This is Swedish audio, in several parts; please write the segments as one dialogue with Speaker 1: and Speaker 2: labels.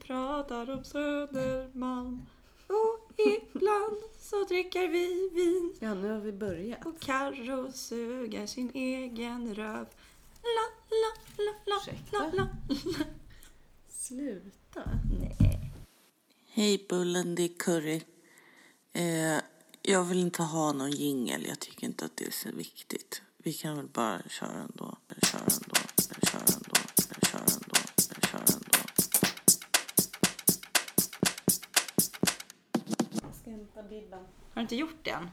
Speaker 1: pratar om Södermalm. Och ibland så dricker vi vin.
Speaker 2: Ja, nu har vi börjat.
Speaker 1: Och Carro suger sin egen röv. La, la, la, la, la, la.
Speaker 2: Sluta.
Speaker 3: Hej Bullen, det är Curry. Eh, jag vill inte ha någon jingel. Jag tycker inte att det är så viktigt. Vi kan väl bara köra ändå. Köra ändå. Köra ändå. Köra ändå. Köra ändå.
Speaker 2: Jag ska hämta Bibban.
Speaker 1: Har du inte gjort det än?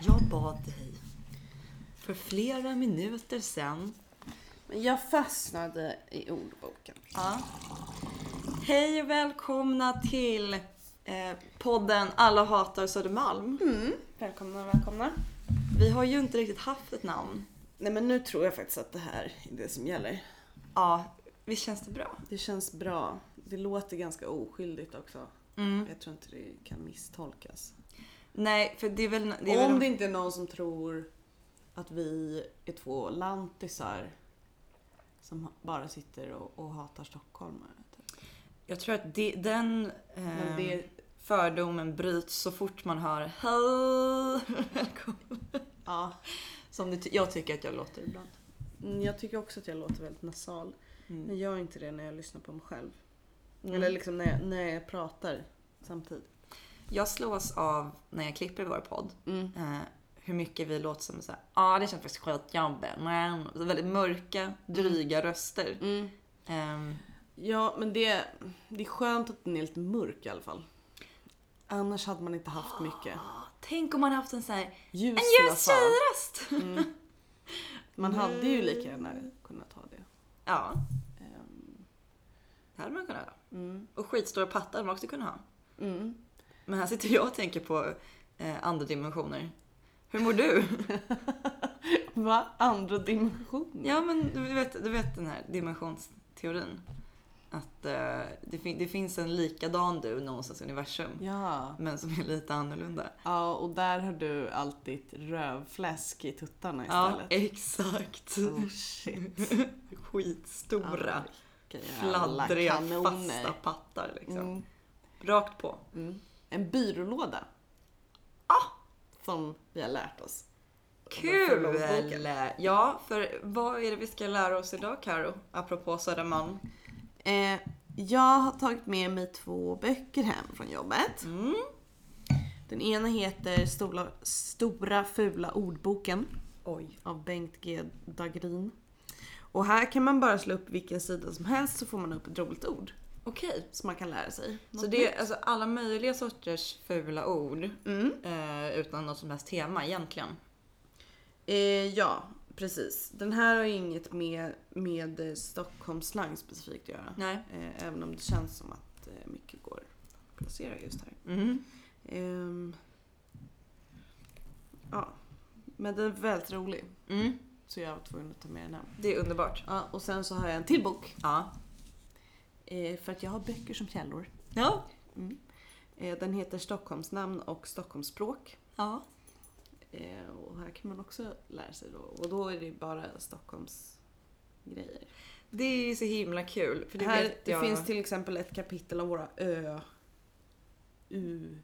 Speaker 1: Jag bad dig för flera minuter sedan.
Speaker 2: Men jag fastnade i ordboken.
Speaker 1: Ja. Hej och välkomna till eh, podden Alla hatar Södermalm.
Speaker 2: Mm. Välkomna, välkomna.
Speaker 1: Vi har ju inte riktigt haft ett namn.
Speaker 2: Nej, men nu tror jag faktiskt att det här är det som gäller.
Speaker 1: Ja, visst känns det bra?
Speaker 2: Det känns bra. Det låter ganska oskyldigt också. Jag tror inte det kan misstolkas.
Speaker 1: Mm. Nej, för det är väl... Det är väl
Speaker 2: Om det inte är någon som tror att vi är två lantisar som bara sitter och, och hatar stockholmare. Typ. Ehm,
Speaker 1: Jag tror att det, den
Speaker 2: Men
Speaker 1: eh,
Speaker 2: det,
Speaker 1: fördomen bryts så fort man hör Hej välkommen.
Speaker 2: ja,
Speaker 1: Som det, ty- jag tycker att jag låter ibland.
Speaker 2: Mm, jag tycker också att jag låter väldigt nasal.
Speaker 1: Mm.
Speaker 2: Men jag gör inte det när jag lyssnar på mig själv.
Speaker 1: Mm.
Speaker 2: Eller liksom när jag, när jag pratar samtidigt.
Speaker 1: Jag slås av när jag klipper vår podd eh, hur mycket vi låter som så här, ja ah, det känns faktiskt skitjobbigt. men", så Väldigt mörka, dryga röster. Ehm,
Speaker 2: Ja, men det, det är skönt att den är lite mörk i alla fall. Annars hade man inte haft mycket.
Speaker 1: ah, tänk om man haft en så här,
Speaker 2: Ljus
Speaker 1: en
Speaker 2: i alla
Speaker 1: ljus Mm.
Speaker 2: fall. Mm.
Speaker 1: tjejröst.
Speaker 2: Man hade ju lika gärna kunnat ha det.
Speaker 1: Ja,
Speaker 2: Ehm,
Speaker 1: det hade man kunnat ha.
Speaker 2: Mm.
Speaker 1: Och skitstora pattar hade man också kunnat ha.
Speaker 2: Mm.
Speaker 1: Men här sitter jag och tänker på eh, andra dimensioner. Hur mår du?
Speaker 2: Va? Andra dimensioner?
Speaker 1: Ja, men du vet, du vet den här dimensionsteorin. Att eh, det, fin- det finns en likadan du någonstans i universum.
Speaker 2: Ja.
Speaker 1: Men som är lite annorlunda.
Speaker 2: Ja, och där har du allt ditt rövfläsk i tuttarna
Speaker 1: Ja,
Speaker 2: istället.
Speaker 1: exakt.
Speaker 2: Oh shit.
Speaker 1: Skitstora,
Speaker 2: Vilka jävla
Speaker 1: fladdriga,
Speaker 2: kanoner.
Speaker 1: fasta pattar liksom.
Speaker 2: Mm.
Speaker 1: Rakt på.
Speaker 2: Mm. En byrålåda.
Speaker 1: Ah!
Speaker 2: Som vi har lärt oss.
Speaker 1: Kul!
Speaker 2: Varför långboken?
Speaker 1: Ja, för vad är det vi ska lära oss idag Karo? Apropå Södermalm.
Speaker 2: Eh, jag har tagit med mig två böcker hem från jobbet.
Speaker 1: Mm.
Speaker 2: Den ena heter Stora, Stora fula ordboken
Speaker 1: Oj.
Speaker 2: av Bengt G Dagrin. Och här kan man bara slå upp vilken sida som helst så får man upp ett roligt ord
Speaker 1: Okej.
Speaker 2: som man kan lära sig.
Speaker 1: Så det är alltså alla möjliga sorters fula ord
Speaker 2: Mm.
Speaker 1: eh, utan något som helst tema egentligen.
Speaker 2: Eh, ja, precis. Den här har ju inget med, med eh, Stockholmsslang specifikt att göra.
Speaker 1: Nej.
Speaker 2: Eh, även om det känns som att eh, mycket går att placera just här.
Speaker 1: Mm.
Speaker 2: Ehm, ja, men den är väldigt rolig.
Speaker 1: Mm.
Speaker 2: Så jag var tvungen att ta med den här.
Speaker 1: Det är underbart.
Speaker 2: Ja, och sen så har jag en till bok.
Speaker 1: Ja.
Speaker 2: Eh, för att jag har böcker som källor.
Speaker 1: Ja.
Speaker 2: Eh, den heter Stockholmsnamn och Stockholmsspråk.
Speaker 1: Ja.
Speaker 2: Eh, och här kan man också lära sig då. Och då är det bara Stockholms grejer.
Speaker 1: Det är ju så himla kul. För det
Speaker 2: här
Speaker 1: vet
Speaker 2: det
Speaker 1: jag.
Speaker 2: finns till exempel ett kapitel av våra ö... U...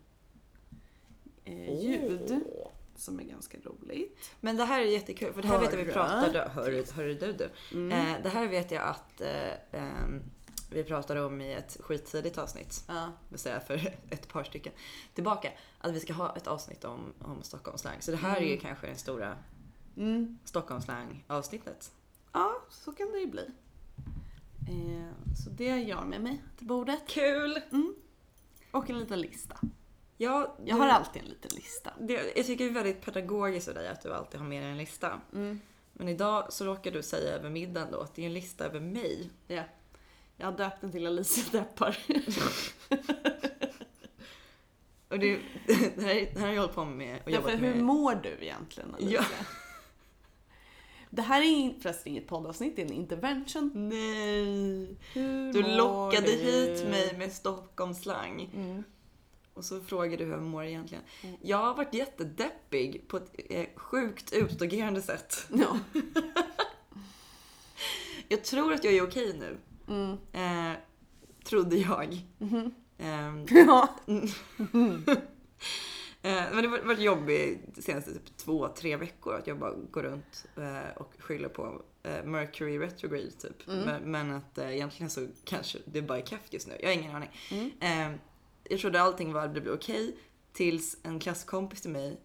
Speaker 2: Eh, ljud.
Speaker 1: Åh.
Speaker 2: Som är ganska roligt.
Speaker 1: Men det här är jättekul för det här vet jag vi
Speaker 2: Hörru.
Speaker 1: pratade hörru, hörru du, du.
Speaker 2: Mm.
Speaker 1: Eh, Det här vet jag att eh, ehm, vi pratade om i ett skittidigt avsnitt.
Speaker 2: Ja.
Speaker 1: vill säga för ett par stycken tillbaka. Att vi ska ha ett avsnitt om, om Stockholmsslang. Så det här är ju kanske den stora
Speaker 2: Mm.
Speaker 1: Stockholmsslang avsnittet.
Speaker 2: Ja, så kan det ju bli. Eh, så det gör jag med mig till bordet.
Speaker 1: Kul!
Speaker 2: Och en liten lista.
Speaker 1: Ja,
Speaker 2: Jag
Speaker 1: du-
Speaker 2: har alltid en liten lista.
Speaker 1: det, jag tycker det är väldigt pedagogiskt av dig att du alltid har med dig en lista.
Speaker 2: Mm.
Speaker 1: Men idag så råkar du säga över middagen då att det är en lista över mig.
Speaker 2: Ja. Jag har döpt den till Alicia Deppar.
Speaker 1: Och det, det, här, är- det här har jag hållit på med och
Speaker 2: Därför,
Speaker 1: jobbat
Speaker 2: hur
Speaker 1: med.
Speaker 2: mår du egentligen Alicia? Det här är in- förresten inget poddavsnitt, det är en intervention.
Speaker 1: Nej!
Speaker 2: Hur
Speaker 1: Du
Speaker 2: mår
Speaker 1: lockade
Speaker 2: du?
Speaker 1: hit mig med Stockholmsslang.
Speaker 2: Mm.
Speaker 1: Och så frågar du hur jag mår egentligen.
Speaker 2: Mm.
Speaker 1: Jag har varit jättedeppig på ett eh, sjukt utagerande sätt.
Speaker 2: Ja.
Speaker 1: Jag tror att jag är okej nu.
Speaker 2: Mm. Mm-hmm.
Speaker 1: Eh, Trodde jag. Ehm,
Speaker 2: Ja. Mm-hmm.
Speaker 1: Eh, men det har varit jobbigt de senaste typ två, tre veckor att jag bara går runt eh, och skyller på eh, Mercury retrograde typ.
Speaker 2: Mm.
Speaker 1: Men, men att eh, egentligen så kanske det bara är kefft just nu. Jag har ingen aning.
Speaker 2: Mm.
Speaker 1: Eh, jag trodde allting var det blir okej tills en klasskompis till mig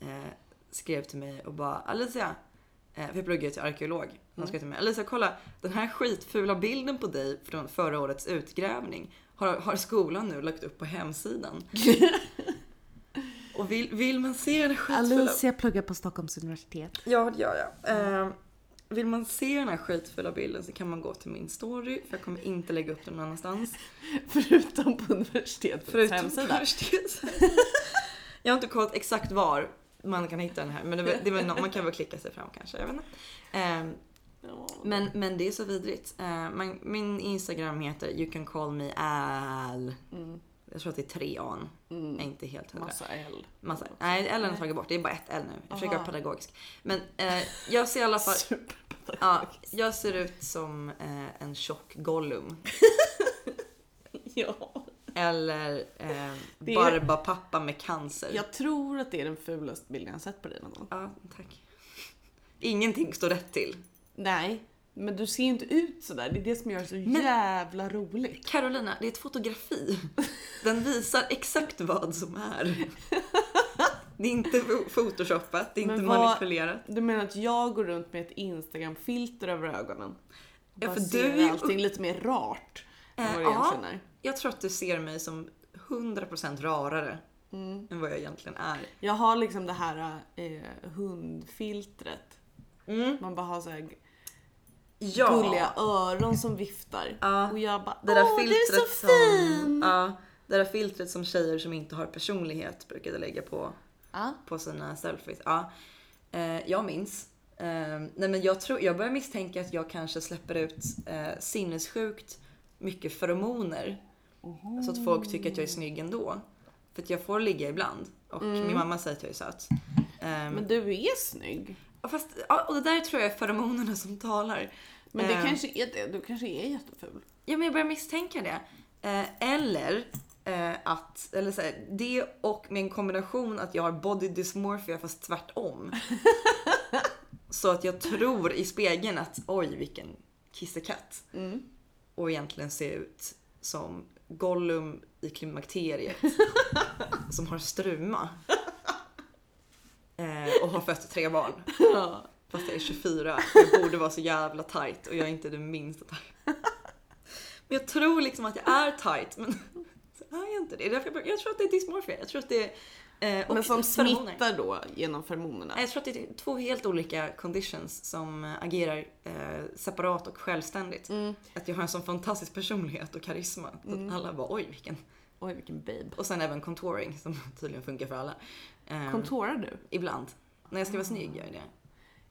Speaker 1: eh, skrev till mig och bara Alicia, eh, för jag pluggar ju till arkeolog. Han skrev till mig Alicia kolla den här skitfula bilden på dig från förra årets utgrävning har, har skolan nu lagt upp på hemsidan. Och vill, vill man se den här skitfulla...
Speaker 2: pluggar på Stockholms universitet.
Speaker 1: Ja, det gör jag. Eh, vill man se den här skitfulla bilden så kan man gå till min story för jag kommer inte lägga upp den någon annanstans.
Speaker 2: Förutom på universitetets
Speaker 1: Förutom på
Speaker 2: hemsida.
Speaker 1: universitets- Jag har inte kollat exakt var man kan hitta den här men det, var- det var nå- man kan väl klicka sig fram kanske. Jag vet inte. Eh, men, men det är så vidrigt. Eh, man, min Instagram heter You can call me Al. Jag tror att det är tre an. Jag är inte helt hundra.
Speaker 2: Mm. Massa L.
Speaker 1: Massa. Nej, L har jag tagit bort. Det är bara ett L nu. Jag försöker vara pedagogisk. Men eh, jag ser i alla fall... Ja, jag ser ut som eh, en tjock Gollum.
Speaker 2: Ja.
Speaker 1: Eller eh,
Speaker 2: Det är-
Speaker 1: Barbapappa med cancer. Ja.
Speaker 2: Jag tror att det är den fulaste bilden jag har sett på dig någon gång.
Speaker 1: tack. Ingenting står rätt till.
Speaker 2: Nej, men du ser ju inte ut sådär. Det är det som gör det så jävla roligt.
Speaker 1: Carolina, det är ett fotografi. Den visar exakt vad som är. Det är inte fo- photoshopat, det är
Speaker 2: Men
Speaker 1: inte
Speaker 2: vad-
Speaker 1: manipulerat.
Speaker 2: Du menar att jag går runt med ett Instagram-filter över ögonen?
Speaker 1: Ja,
Speaker 2: Bara
Speaker 1: för du
Speaker 2: ser
Speaker 1: är ju-
Speaker 2: allting lite mer rart än
Speaker 1: Eh,
Speaker 2: vad det
Speaker 1: ja.
Speaker 2: egentligen är.
Speaker 1: Jag tror att du ser mig som 100% rarare än vad jag egentligen är.
Speaker 2: Mm. Jag har liksom det här eh, hundfiltret.
Speaker 1: Mm.
Speaker 2: Man bara har så här
Speaker 1: Ja.
Speaker 2: gulliga öron som viftar.
Speaker 1: Ja.
Speaker 2: Och jag bara
Speaker 1: Det där
Speaker 2: Åh, du är
Speaker 1: filtret
Speaker 2: så
Speaker 1: som...
Speaker 2: fin!
Speaker 1: Ja, det där filtret som tjejer som inte har personlighet brukade lägga på,
Speaker 2: Ja.
Speaker 1: på sina selfies. Ja. Eh, jag minns. Eh, nej men jag, tror, jag börjar misstänka att jag kanske släpper ut eh, sinnessjukt mycket feromoner. Så att folk tycker att jag är snygg ändå. För att jag får ligga ibland. Och min mamma säger att jag är söt. Ehm,
Speaker 2: Mm. Men du är snygg.
Speaker 1: Ja, Fast, ja, och det där tror jag är feromonerna som talar.
Speaker 2: Men det
Speaker 1: Eh,
Speaker 2: kanske är det. Du kanske är jätteful.
Speaker 1: Ja, men jag börjar misstänka det. Eh, eller eh, att, eller så här, det och med en kombination att jag har body dysmorphia fast tvärtom. så att jag tror i spegeln att oj vilken kissekatt. Och egentligen ser jag ut som Gollum i klimakteriet. som har struma. Eh, och har fött tre barn.
Speaker 2: Ja.
Speaker 1: Fast jag är 24 jag borde vara så jävla tight och jag är inte det minsta tight. Men jag tror liksom att jag är tight men så är jag inte det. Det är därför Jag brukar- jag tror att det är dysmorphia. Jag tror att det är... Eh, och
Speaker 2: Men som
Speaker 1: feromoner.
Speaker 2: smittar då genom feromonerna.
Speaker 1: Nej, Jag tror att det är två helt olika conditions som eh, agerar eh, separat och självständigt.
Speaker 2: Mm.
Speaker 1: Att jag har en sån fantastisk personlighet och karisma. Så att alla bara oj vilken.
Speaker 2: Oj vilken babe.
Speaker 1: Och sen även contouring som tydligen funkar för alla. Eh,
Speaker 2: Kontorar du?
Speaker 1: ibland. När jag ska
Speaker 2: Ah.
Speaker 1: vara snygg gör jag det.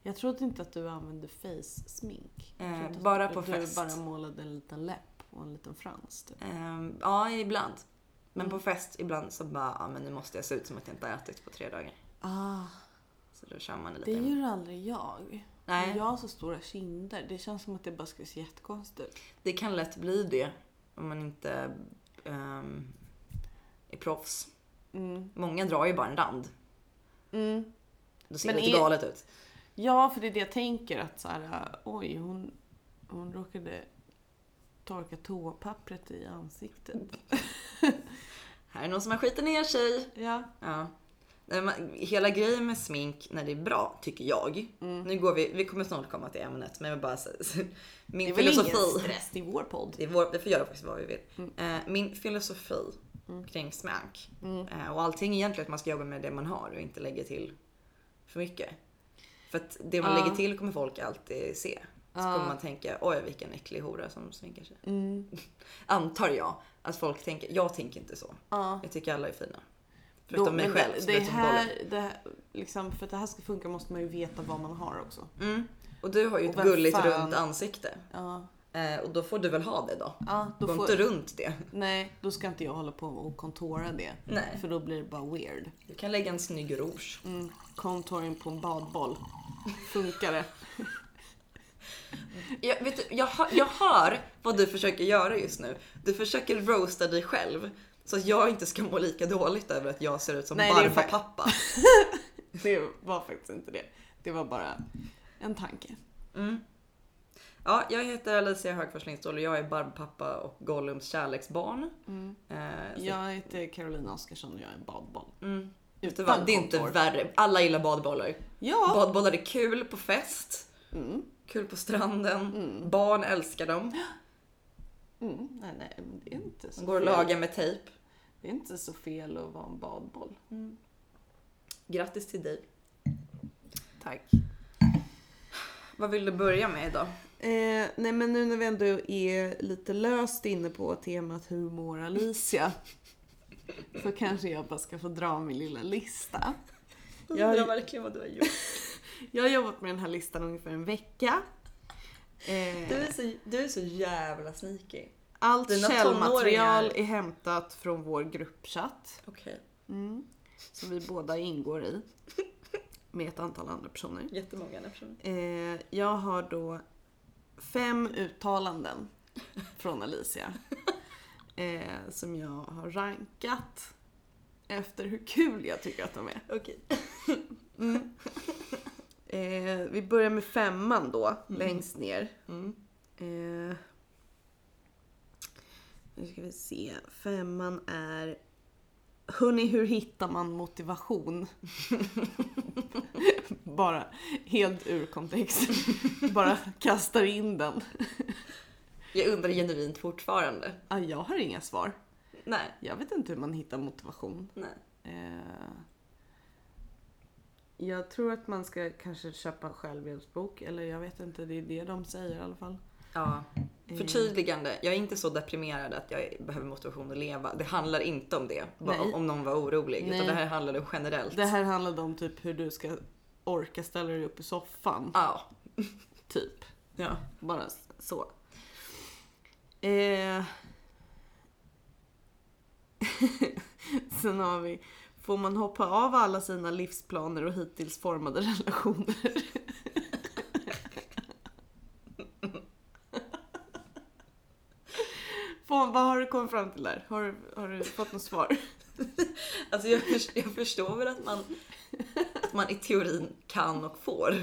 Speaker 2: Jag trodde inte att du använde face-smink. Jag
Speaker 1: Eh,
Speaker 2: trodde att
Speaker 1: bara på
Speaker 2: du
Speaker 1: fest.
Speaker 2: bara målade en liten läpp och en liten frans. Typ.
Speaker 1: Ehm, ja, ibland. Men
Speaker 2: Mm.
Speaker 1: på fest ibland så bara, ja men nu måste jag se ut som att jag inte har ätit på tre dagar.
Speaker 2: Ah,
Speaker 1: Så då kör man lite.
Speaker 2: det gör aldrig jag.
Speaker 1: Nej.
Speaker 2: Jag har så stora kinder. Det känns som att det bara ska se jättekonstigt ut.
Speaker 1: Det kan lätt bli det om man inte ehm, är proffs.
Speaker 2: Mm.
Speaker 1: Många drar ju bara en rand.
Speaker 2: Mm.
Speaker 1: Då ser
Speaker 2: Men
Speaker 1: det lite
Speaker 2: är-
Speaker 1: galet ut.
Speaker 2: Ja, för det är det jag tänker att så här, äh, oj, hon, hon råkade torka toapappret i ansiktet.
Speaker 1: Här är någon som har skitit ner sig.
Speaker 2: Ja.
Speaker 1: Ja. Nej, men Hela grejen med smink när det är bra, tycker jag.
Speaker 2: Mm.
Speaker 1: Nu går vi, vi kommer snart komma till ämnet, men jag vill bara säga
Speaker 2: Det är
Speaker 1: min
Speaker 2: väl ingen
Speaker 1: filosofi.
Speaker 2: stress i vår podd?
Speaker 1: Det är vår, vi får göra faktiskt vad vi vill.
Speaker 2: Mm.
Speaker 1: Eh, min filosofi kring smink eh, och allting egentligen att man ska jobba med det man har och inte lägga till för mycket. För att det man
Speaker 2: Ja.
Speaker 1: lägger till kommer folk alltid se. Så kommer man tänka oj vilken äcklig hora som sminkar sig.
Speaker 2: Mm.
Speaker 1: Antar jag att folk tänker. Jag tänker inte så.
Speaker 2: Ja.
Speaker 1: Jag tycker alla är fina.
Speaker 2: Då,
Speaker 1: Förutom mig
Speaker 2: men
Speaker 1: själv.
Speaker 2: det, det
Speaker 1: förutom Dolly.
Speaker 2: här, det här, liksom, för att det här ska funka måste man ju veta vad man har också.
Speaker 1: Mm. Och du har ju
Speaker 2: Och
Speaker 1: ett
Speaker 2: vem
Speaker 1: gulligt
Speaker 2: fan-
Speaker 1: runt ansikte.
Speaker 2: Ja.
Speaker 1: Eh, och då får du väl ha det då.
Speaker 2: Ja, då
Speaker 1: Gå
Speaker 2: får,
Speaker 1: inte runt det.
Speaker 2: nej, då ska inte jag hålla på och kontora det.
Speaker 1: Nej.
Speaker 2: För då blir det bara weird.
Speaker 1: Du kan lägga en snygg rouge.
Speaker 2: Mm. Contouring på en badboll. Funkar det?
Speaker 1: jag, vet du, jag, hör- jag hör vad du försöker göra just nu. Du försöker roasta dig själv. Så att jag inte ska må lika dåligt över att jag ser ut som
Speaker 2: Nej, det är
Speaker 1: Barba-pappa.
Speaker 2: Det var faktiskt inte det. Det var bara en tanke.
Speaker 1: Mm. Ja, jag heter Alicia Högfors Lindstål och jag är Barba-pappa och Gollums kärleksbarn.
Speaker 2: Mm.
Speaker 1: Eh, så-
Speaker 2: Alltså- Jag heter Caroline Oskarsson och jag är badboll.
Speaker 1: mm. Vet du
Speaker 2: Utan
Speaker 1: vad, det är inte
Speaker 2: kontor.
Speaker 1: värre. Alla gillar badbollar.
Speaker 2: Ja!
Speaker 1: Badbollar är kul på fest,
Speaker 2: Mm.
Speaker 1: kul på stranden,
Speaker 2: Mm.
Speaker 1: barn älskar dem.
Speaker 2: Mm. Nej, nej, men det är inte så
Speaker 1: De går och
Speaker 2: fel.
Speaker 1: lagar med tejp.
Speaker 2: Det är inte så fel att vara en badboll.
Speaker 1: Grattis till dig.
Speaker 2: Tack.
Speaker 1: Vad vill du börja med idag?
Speaker 2: Eh, nej men nu när vi ändå är lite löst inne på temat hur mår Alicia? så kanske jag bara ska få dra min lilla lista. Jag
Speaker 1: Jag
Speaker 2: har-
Speaker 1: undrar verkligen vad du har gjort.
Speaker 2: Jag har jobbat med den här listan ungefär en vecka. Eh,
Speaker 1: Du är så, du är så jävla sneaky.
Speaker 2: allt
Speaker 1: dina
Speaker 2: källmaterial
Speaker 1: tonåringar-
Speaker 2: är hämtat från vår gruppchatt.
Speaker 1: Okej,
Speaker 2: Mm, som vi båda ingår i. Med ett antal andra personer.
Speaker 1: jättemånga personer.
Speaker 2: Eh, jag har då fem uttalanden från Alicia. Eh, som jag har rankat efter hur kul jag tycker att de är.
Speaker 1: Okej.
Speaker 2: Mm. Eh, vi börjar med femman då, längst ner.
Speaker 1: Mm.
Speaker 2: Eh, nu ska vi se. Femman är... Hörni, hur hittar man motivation? Bara helt ur kontext. Bara kastar in den.
Speaker 1: Jag undrar genuint fortfarande.
Speaker 2: Ah, jag har inga svar.
Speaker 1: Nej,
Speaker 2: Jag vet inte hur man hittar motivation.
Speaker 1: nej.
Speaker 2: Eh, jag tror att man ska kanske köpa en självhjälpsbok. Eller jag vet inte, det är det de säger i alla fall.
Speaker 1: Ja.
Speaker 2: Eh,
Speaker 1: Förtydligande, jag är inte så deprimerad att jag behöver motivation att leva. Det handlar inte om det, bara
Speaker 2: Nej.
Speaker 1: om någon var orolig.
Speaker 2: Nej.
Speaker 1: Utan det här handlar om generellt.
Speaker 2: Det här handlade om typ hur du ska orka ställa dig upp i soffan.
Speaker 1: Ja.
Speaker 2: Typ.
Speaker 1: ja.
Speaker 2: Bara s- så. Eh. Sen har vi, får man hoppa av alla sina livsplaner och hittills formade relationer? Får, vad har du kommit fram till där? Har, du- har du fått något svar?
Speaker 1: Alltså jag, förs- jag förstår väl att man, att man i teorin kan och får.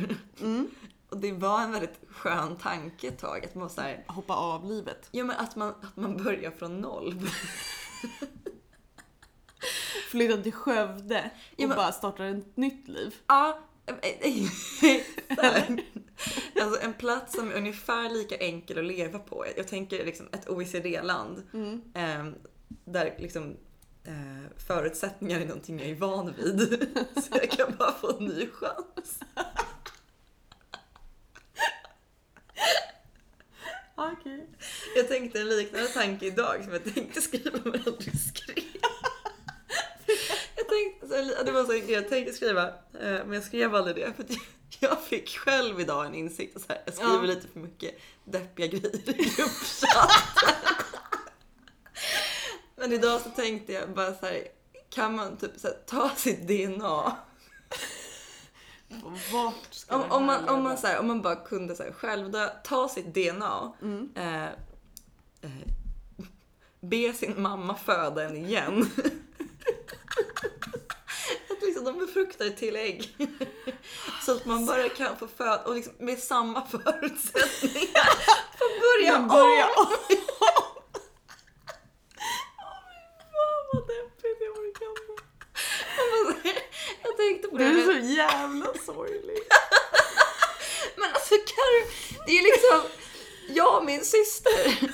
Speaker 1: Och det var en väldigt skön tanke ett tag. Att man var så här,
Speaker 2: Hoppa av livet.
Speaker 1: ja, men att, man, att man börjar från noll.
Speaker 2: Flytta till Skövde och
Speaker 1: Ja, men-
Speaker 2: bara starta ett nytt liv.
Speaker 1: Ja. Eller, alltså en plats som är ungefär lika enkel att leva på. Jag tänker liksom ett OECD-land
Speaker 2: Mm.
Speaker 1: eh, där liksom, eh, förutsättningar är någonting jag är van vid. Så jag kan bara få en ny chans.
Speaker 2: Okej.
Speaker 1: Jag tänkte en liknande tanke idag som jag tänkte skriva men aldrig skrev. Jag tänkte, så här- det var så en grej jag tänkte skriva eh, men jag skrev aldrig det. För att jag- jag fick själv idag en insikt att så här, jag skriver
Speaker 2: Ja.
Speaker 1: lite för mycket deppiga grejer i gruppchatten. Men idag så tänkte jag bara så här, kan man typ så här, ta sitt DNA
Speaker 2: Och Vart ska
Speaker 1: Om,
Speaker 2: det
Speaker 1: om,
Speaker 2: här
Speaker 1: man, om,
Speaker 2: leda?
Speaker 1: man, så här, om man bara kunde så här, självdö, ta sitt DNA,
Speaker 2: Mm.
Speaker 1: eh, eh, be sin mamma föda en igen. att liksom de befruktar till ägg. så att man
Speaker 2: Alltså.
Speaker 1: bara kan få föda, och liksom med samma förutsättningar. Få börja
Speaker 2: Men börja
Speaker 1: om.
Speaker 2: om! Åh fy fan vad deppigt, jag orkar inte.
Speaker 1: Jag tänkte på
Speaker 2: Du
Speaker 1: det.
Speaker 2: är
Speaker 1: men-
Speaker 2: så jävla sorglig.
Speaker 1: Men alltså kan du, det är liksom, jag och min syster.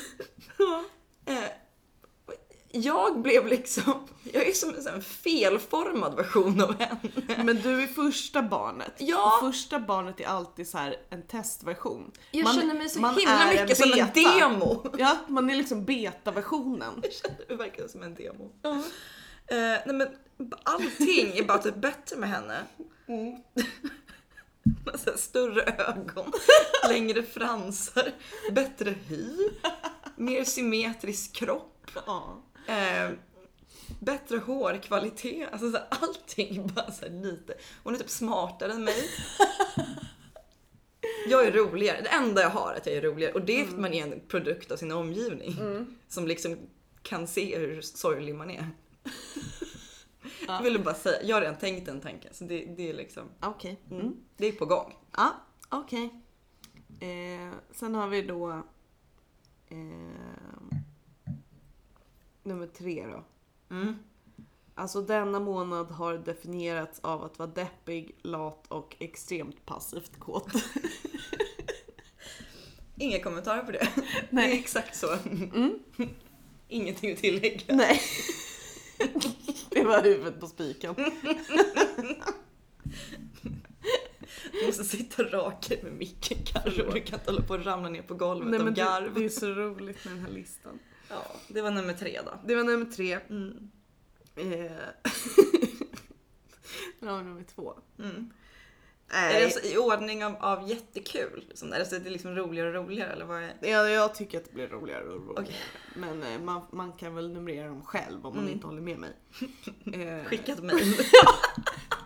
Speaker 1: Eh, Jag blev liksom, jag är som en sån här felformad version av henne.
Speaker 2: Men du är första barnet.
Speaker 1: Ja.
Speaker 2: Och första barnet är alltid så här en testversion.
Speaker 1: Jag
Speaker 2: Man-
Speaker 1: känner mig så
Speaker 2: man
Speaker 1: himla
Speaker 2: är
Speaker 1: mycket som en
Speaker 2: beta.
Speaker 1: demo.
Speaker 2: Ja, man är liksom betaversionen.
Speaker 1: Jag känner mig verkligen som en demo. Eh, nej men allting är bara typ bättre med henne. Mm. Med så här större ögon, längre fransar, bättre hy, mer symmetrisk kropp.
Speaker 2: Ja.
Speaker 1: Eh, bättre hårkvalitet, alltså så här, allting är bara så här lite. Hon är typ smartare än mig. Jag är roligare. Det enda jag har är att jag är roligare. Och det är för
Speaker 2: Mm.
Speaker 1: att man är en produkt av sin omgivning. Som liksom kan se hur sorglig man är.
Speaker 2: Ja.
Speaker 1: Jag ville bara säga, jag har redan tänkt den tanken. Så det, det är liksom,
Speaker 2: Okej. Mm.
Speaker 1: det är på gång.
Speaker 2: Ja, okej. Eh, sen har vi då eh, nummer tre då.
Speaker 1: Mm.
Speaker 2: Alltså denna månad har definierats av att vara deppig, lat och extremt passivt kåt.
Speaker 1: Inga kommentarer på det. Det är
Speaker 2: Nej. Mm.
Speaker 1: exakt så. Ingenting att tillägga.
Speaker 2: Nej. Det var huvudet på spiken.
Speaker 1: Du måste sitta rak med micken Carro. Du kan inte hålla på och ramla ner på golvet
Speaker 2: Nej,
Speaker 1: av
Speaker 2: men det,
Speaker 1: garv.
Speaker 2: det är så roligt med den här listan.
Speaker 1: Ja, det var nummer tre då.
Speaker 2: Det var nummer tre.
Speaker 1: Mm.
Speaker 2: Eh. Nu har vi nummer två.
Speaker 1: Mm. Är
Speaker 2: Nej.
Speaker 1: det alltså i ordning av, av jättekul? Som det är? Alltså, är det liksom roligare och roligare eller vad är
Speaker 2: Ja, jag tycker att det blir roligare och roligare.
Speaker 1: Okej.
Speaker 2: Men eh, man, man kan väl numrera dem själv om man
Speaker 1: Mm.
Speaker 2: inte håller med mig. Eh,
Speaker 1: Skicka ett mejl.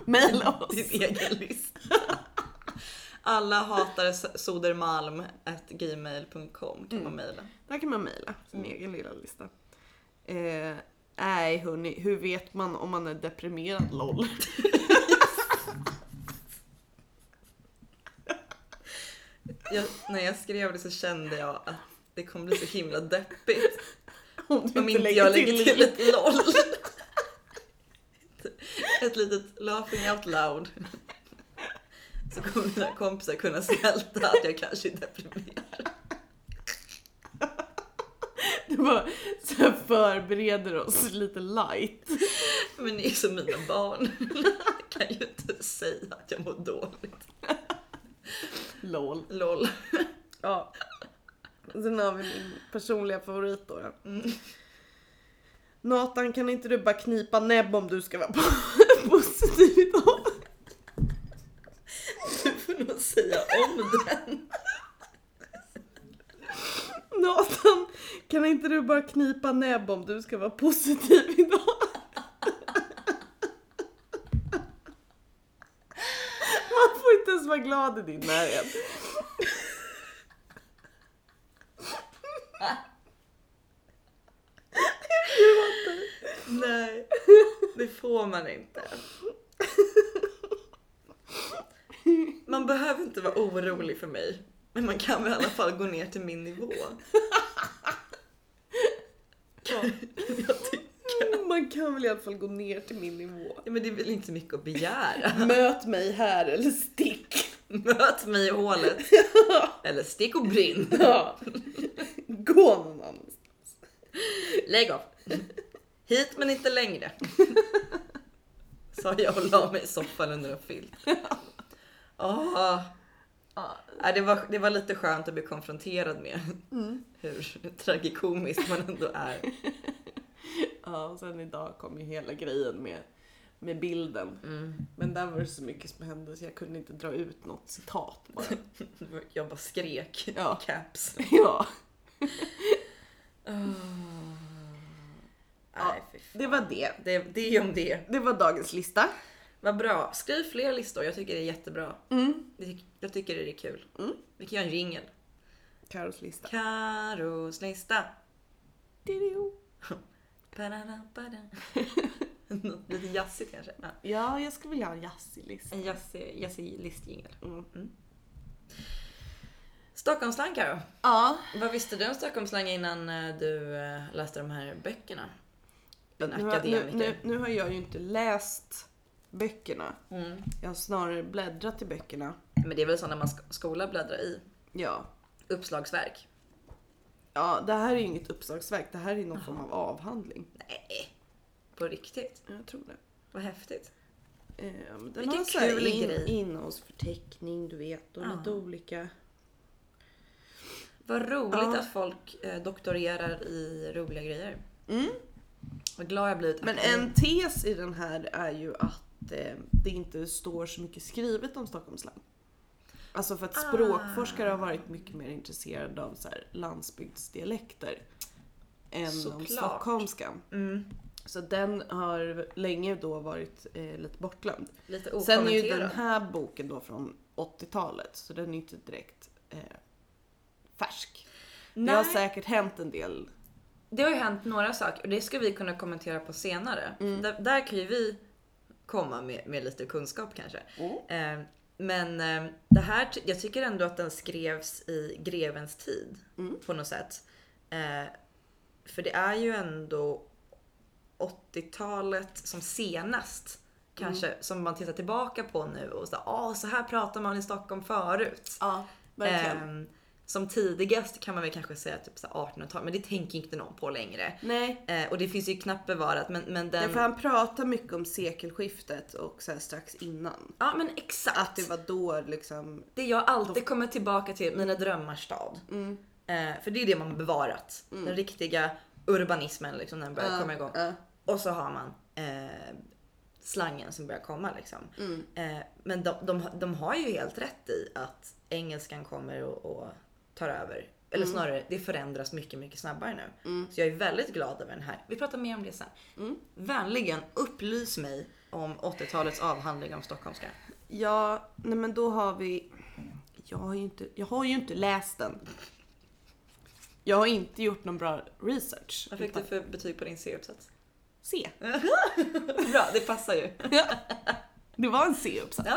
Speaker 2: Maila oss!
Speaker 1: Din egen lista. Alla hatar S- Sodermalm at gmail.com kan
Speaker 2: Mm.
Speaker 1: man mejla.
Speaker 2: Där kan man mejla sin egen lilla lista. Eh, Nej hörni, hur vet man om man är deprimerad LOL?
Speaker 1: Jag, när jag skrev det så kände jag att det kommer bli så himla deppigt
Speaker 2: Om du
Speaker 1: om inte jag lägger till ett LOL. Ett litet laughing out loud. Så kommer mina kompisar kunna smälta att jag kanske är deprimerad.
Speaker 2: Du bara så här förbereder oss lite light.
Speaker 1: Men ni är som mina barn. Jag kan ju inte säga att jag mår dåligt.
Speaker 2: LOL.
Speaker 1: LOL.
Speaker 2: Ja. Sen har vi min personliga favorit då. ja. Nathan kan inte du bara knipa näbb om du ska vara positiv idag?
Speaker 1: Du får nog säga om den.
Speaker 2: Nathan, kan inte du bara knipa näbb om du ska vara positiv idag? Man får inte ens vara glad i din närhet.
Speaker 1: Nej, det får man inte. Man behöver inte vara orolig för mig. Men man kan väl i alla fall gå ner till min nivå. Jag tycker,
Speaker 2: Man kan väl i alla fall gå ner till min nivå.
Speaker 1: Ja, men det är väl inte mycket att begära.
Speaker 2: Möt mig här eller stick.
Speaker 1: Möt mig i hålet. Eller stick och brinn.
Speaker 2: Ja. Gå någon annanstans.
Speaker 1: Lägg av. Hit men inte längre. Sa jag och la mig i soffan under en filt. Åh. Nej, det, var, det var lite skönt att bli konfronterad med hur tragikomiskt man ändå är.
Speaker 2: Ja, och sen idag kom ju hela grejen med, med bilden. Men där var det så mycket som hände så jag kunde inte dra ut något citat bara.
Speaker 1: Jag bara skrek i
Speaker 2: Ja.
Speaker 1: caps.
Speaker 2: ja.
Speaker 1: Nej, fy fan.
Speaker 2: Det var det.
Speaker 1: det, det är om det.
Speaker 2: Det var dagens lista.
Speaker 1: Vad bra. Skriv fler listor. Jag tycker det är jättebra.
Speaker 2: Mm.
Speaker 1: Jag tycker- Jag tycker det är kul. Vi kan göra en jingel.
Speaker 2: Karos Mm. lista.
Speaker 1: Karos lista.
Speaker 2: Didio.
Speaker 1: Ba-da-da-ba-da. Något Lite jazzigt kanske. Ja.
Speaker 2: Ja, jag skulle vilja ha en jazzig lista.
Speaker 1: En jazzig, jazzig listjingel.
Speaker 2: Mm.
Speaker 1: Stockholmsslang Karo.
Speaker 2: Ja.
Speaker 1: Vad visste du om Stockholmsslang innan eh, du eh, läste de här böckerna? Din
Speaker 2: Nu har, nu,
Speaker 1: akademiker.
Speaker 2: nu, nu har jag ju inte läst böckerna.
Speaker 1: Mm.
Speaker 2: Jag har snarare bläddrat i böckerna.
Speaker 1: Men det är väl sådana man sk- skola bläddrar i.
Speaker 2: Ja.
Speaker 1: Uppslagsverk.
Speaker 2: Ja, det här är ju inget uppslagsverk. Det här är någon form av avhandling.
Speaker 1: Nej. På riktigt.
Speaker 2: Jag tror det.
Speaker 1: Vad häftigt.
Speaker 2: Eh, men den
Speaker 1: Vilken
Speaker 2: har så här
Speaker 1: kul
Speaker 2: in,
Speaker 1: grej.
Speaker 2: innehållsförteckning, du vet, och
Speaker 1: Ja.
Speaker 2: lite olika.
Speaker 1: Vad roligt
Speaker 2: Ja.
Speaker 1: att folk eh, doktorerar i roliga grejer.
Speaker 2: Mm.
Speaker 1: Vad glad jag blivit.
Speaker 2: Men en tes i den här är ju att eh, det inte står så mycket skrivet om Stockholmsland. Alltså för att
Speaker 1: Ah.
Speaker 2: språkforskare har varit mycket mer intresserade av så här landsbygdsdialekter än om
Speaker 1: Såklart.
Speaker 2: stockholmskan.
Speaker 1: Mm.
Speaker 2: Så den har länge då varit eh, lite bortglömd.
Speaker 1: Lite
Speaker 2: Sen
Speaker 1: okommenterad.
Speaker 2: är ju den här boken då från 80-talet så den är inte direkt eh, färsk. Det
Speaker 1: Nej,
Speaker 2: har säkert hänt en del.
Speaker 1: det har ju hänt några saker och det ska vi kunna kommentera på senare.
Speaker 2: Mm.
Speaker 1: Där, där kan ju vi komma med, med lite kunskap kanske. Eh, men eh, det här, ty- jag tycker ändå att den skrevs i grevens tid
Speaker 2: Mm.
Speaker 1: på något sätt. Eh, för det är ju ändå 80-talet som senast kanske
Speaker 2: Mm.
Speaker 1: som man tittar tillbaka på nu och så, ah, så här pratar man i Stockholm förut.
Speaker 2: Ja, verkligen.
Speaker 1: Ehm, som tidigast kan man väl kanske säga typ så här 1800-tal, men det tänker inte någon på längre.
Speaker 2: Nej,
Speaker 1: Eh, och det finns ju knappt bevarat, men, men den...
Speaker 2: Nej, för han pratar mycket om sekelskiftet och så här strax innan.
Speaker 1: Ja men exakt.
Speaker 2: Att det var då liksom,
Speaker 1: Det jag alltid kommer tillbaka till, mina drömmars stad. Eh, för det är det man har bevarat. Den riktiga urbanismen liksom, när den börjar
Speaker 2: Ja,
Speaker 1: komma igång.
Speaker 2: ja.
Speaker 1: Och så har man eh, slangen som börjar komma liksom. Eh, men de, de, de har ju helt rätt i att engelskan kommer och, och tar över. Eller snarare, det förändras mycket, mycket snabbare nu. Så jag är väldigt glad över den här. Vi pratar mer om det sen. Vänligen upplys mig om 80-talets avhandling om stockholmska.
Speaker 2: ja, nej men då har vi, jag har ju inte, jag har ju inte läst den. Jag har inte gjort någon bra research.
Speaker 1: Vad fick
Speaker 2: utan-
Speaker 1: du för betyg på din C-uppsats?
Speaker 2: C.
Speaker 1: Bra, det passar ju.
Speaker 2: Det var en C-uppsats.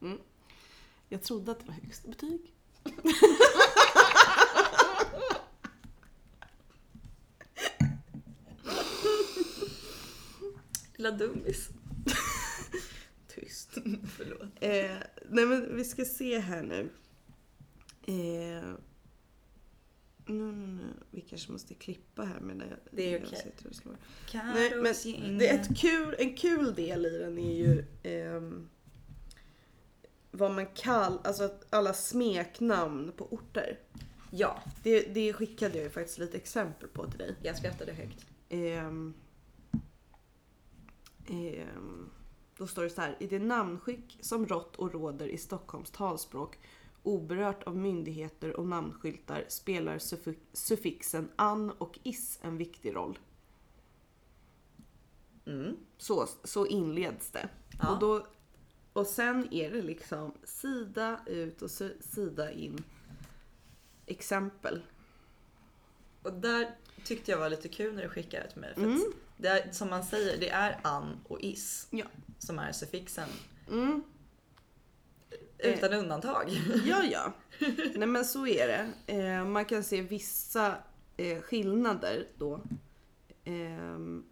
Speaker 1: Ja,
Speaker 2: Jag trodde att det var högsta betyg.
Speaker 1: Lilla dummis.
Speaker 2: Tyst.
Speaker 1: Förlåt.
Speaker 2: Eh, nej men vi ska se här nu. Eh, nu, nu, nu. Vi kanske måste klippa här medan jag,
Speaker 1: Det är
Speaker 2: jag
Speaker 1: okej.
Speaker 2: sitter och slår.
Speaker 1: Ah,
Speaker 2: Nej,
Speaker 1: Carros
Speaker 2: men det är ett kul, en kul del i den är ju ehm, vad man kallar, alltså att alla smeknamn på orter.
Speaker 1: Ja,
Speaker 2: Det, det skickade jag ju faktiskt lite exempel på till dig.
Speaker 1: jag skrattade högt.
Speaker 2: Ehm, ehm, då står det så här. I det namnskick som rått och råder i Stockholms talspråk oberört av myndigheter och namnskyltar spelar suffix, suffixen an och is en viktig roll.
Speaker 1: Mm.
Speaker 2: Så, så inleds det.
Speaker 1: Ja.
Speaker 2: Och, då, och sen är det liksom sida ut och si- sida in exempel.
Speaker 1: Och där tyckte jag var lite kul när du skickade det till mig. För att det är, som man säger, det är an och is
Speaker 2: Mm. Ja.
Speaker 1: som är suffixen. Eh,
Speaker 2: Mm.
Speaker 1: Utan undantag.
Speaker 2: Ja, ja. Nej men så är det. Eh, man kan se vissa eh, skillnader då. Ehm,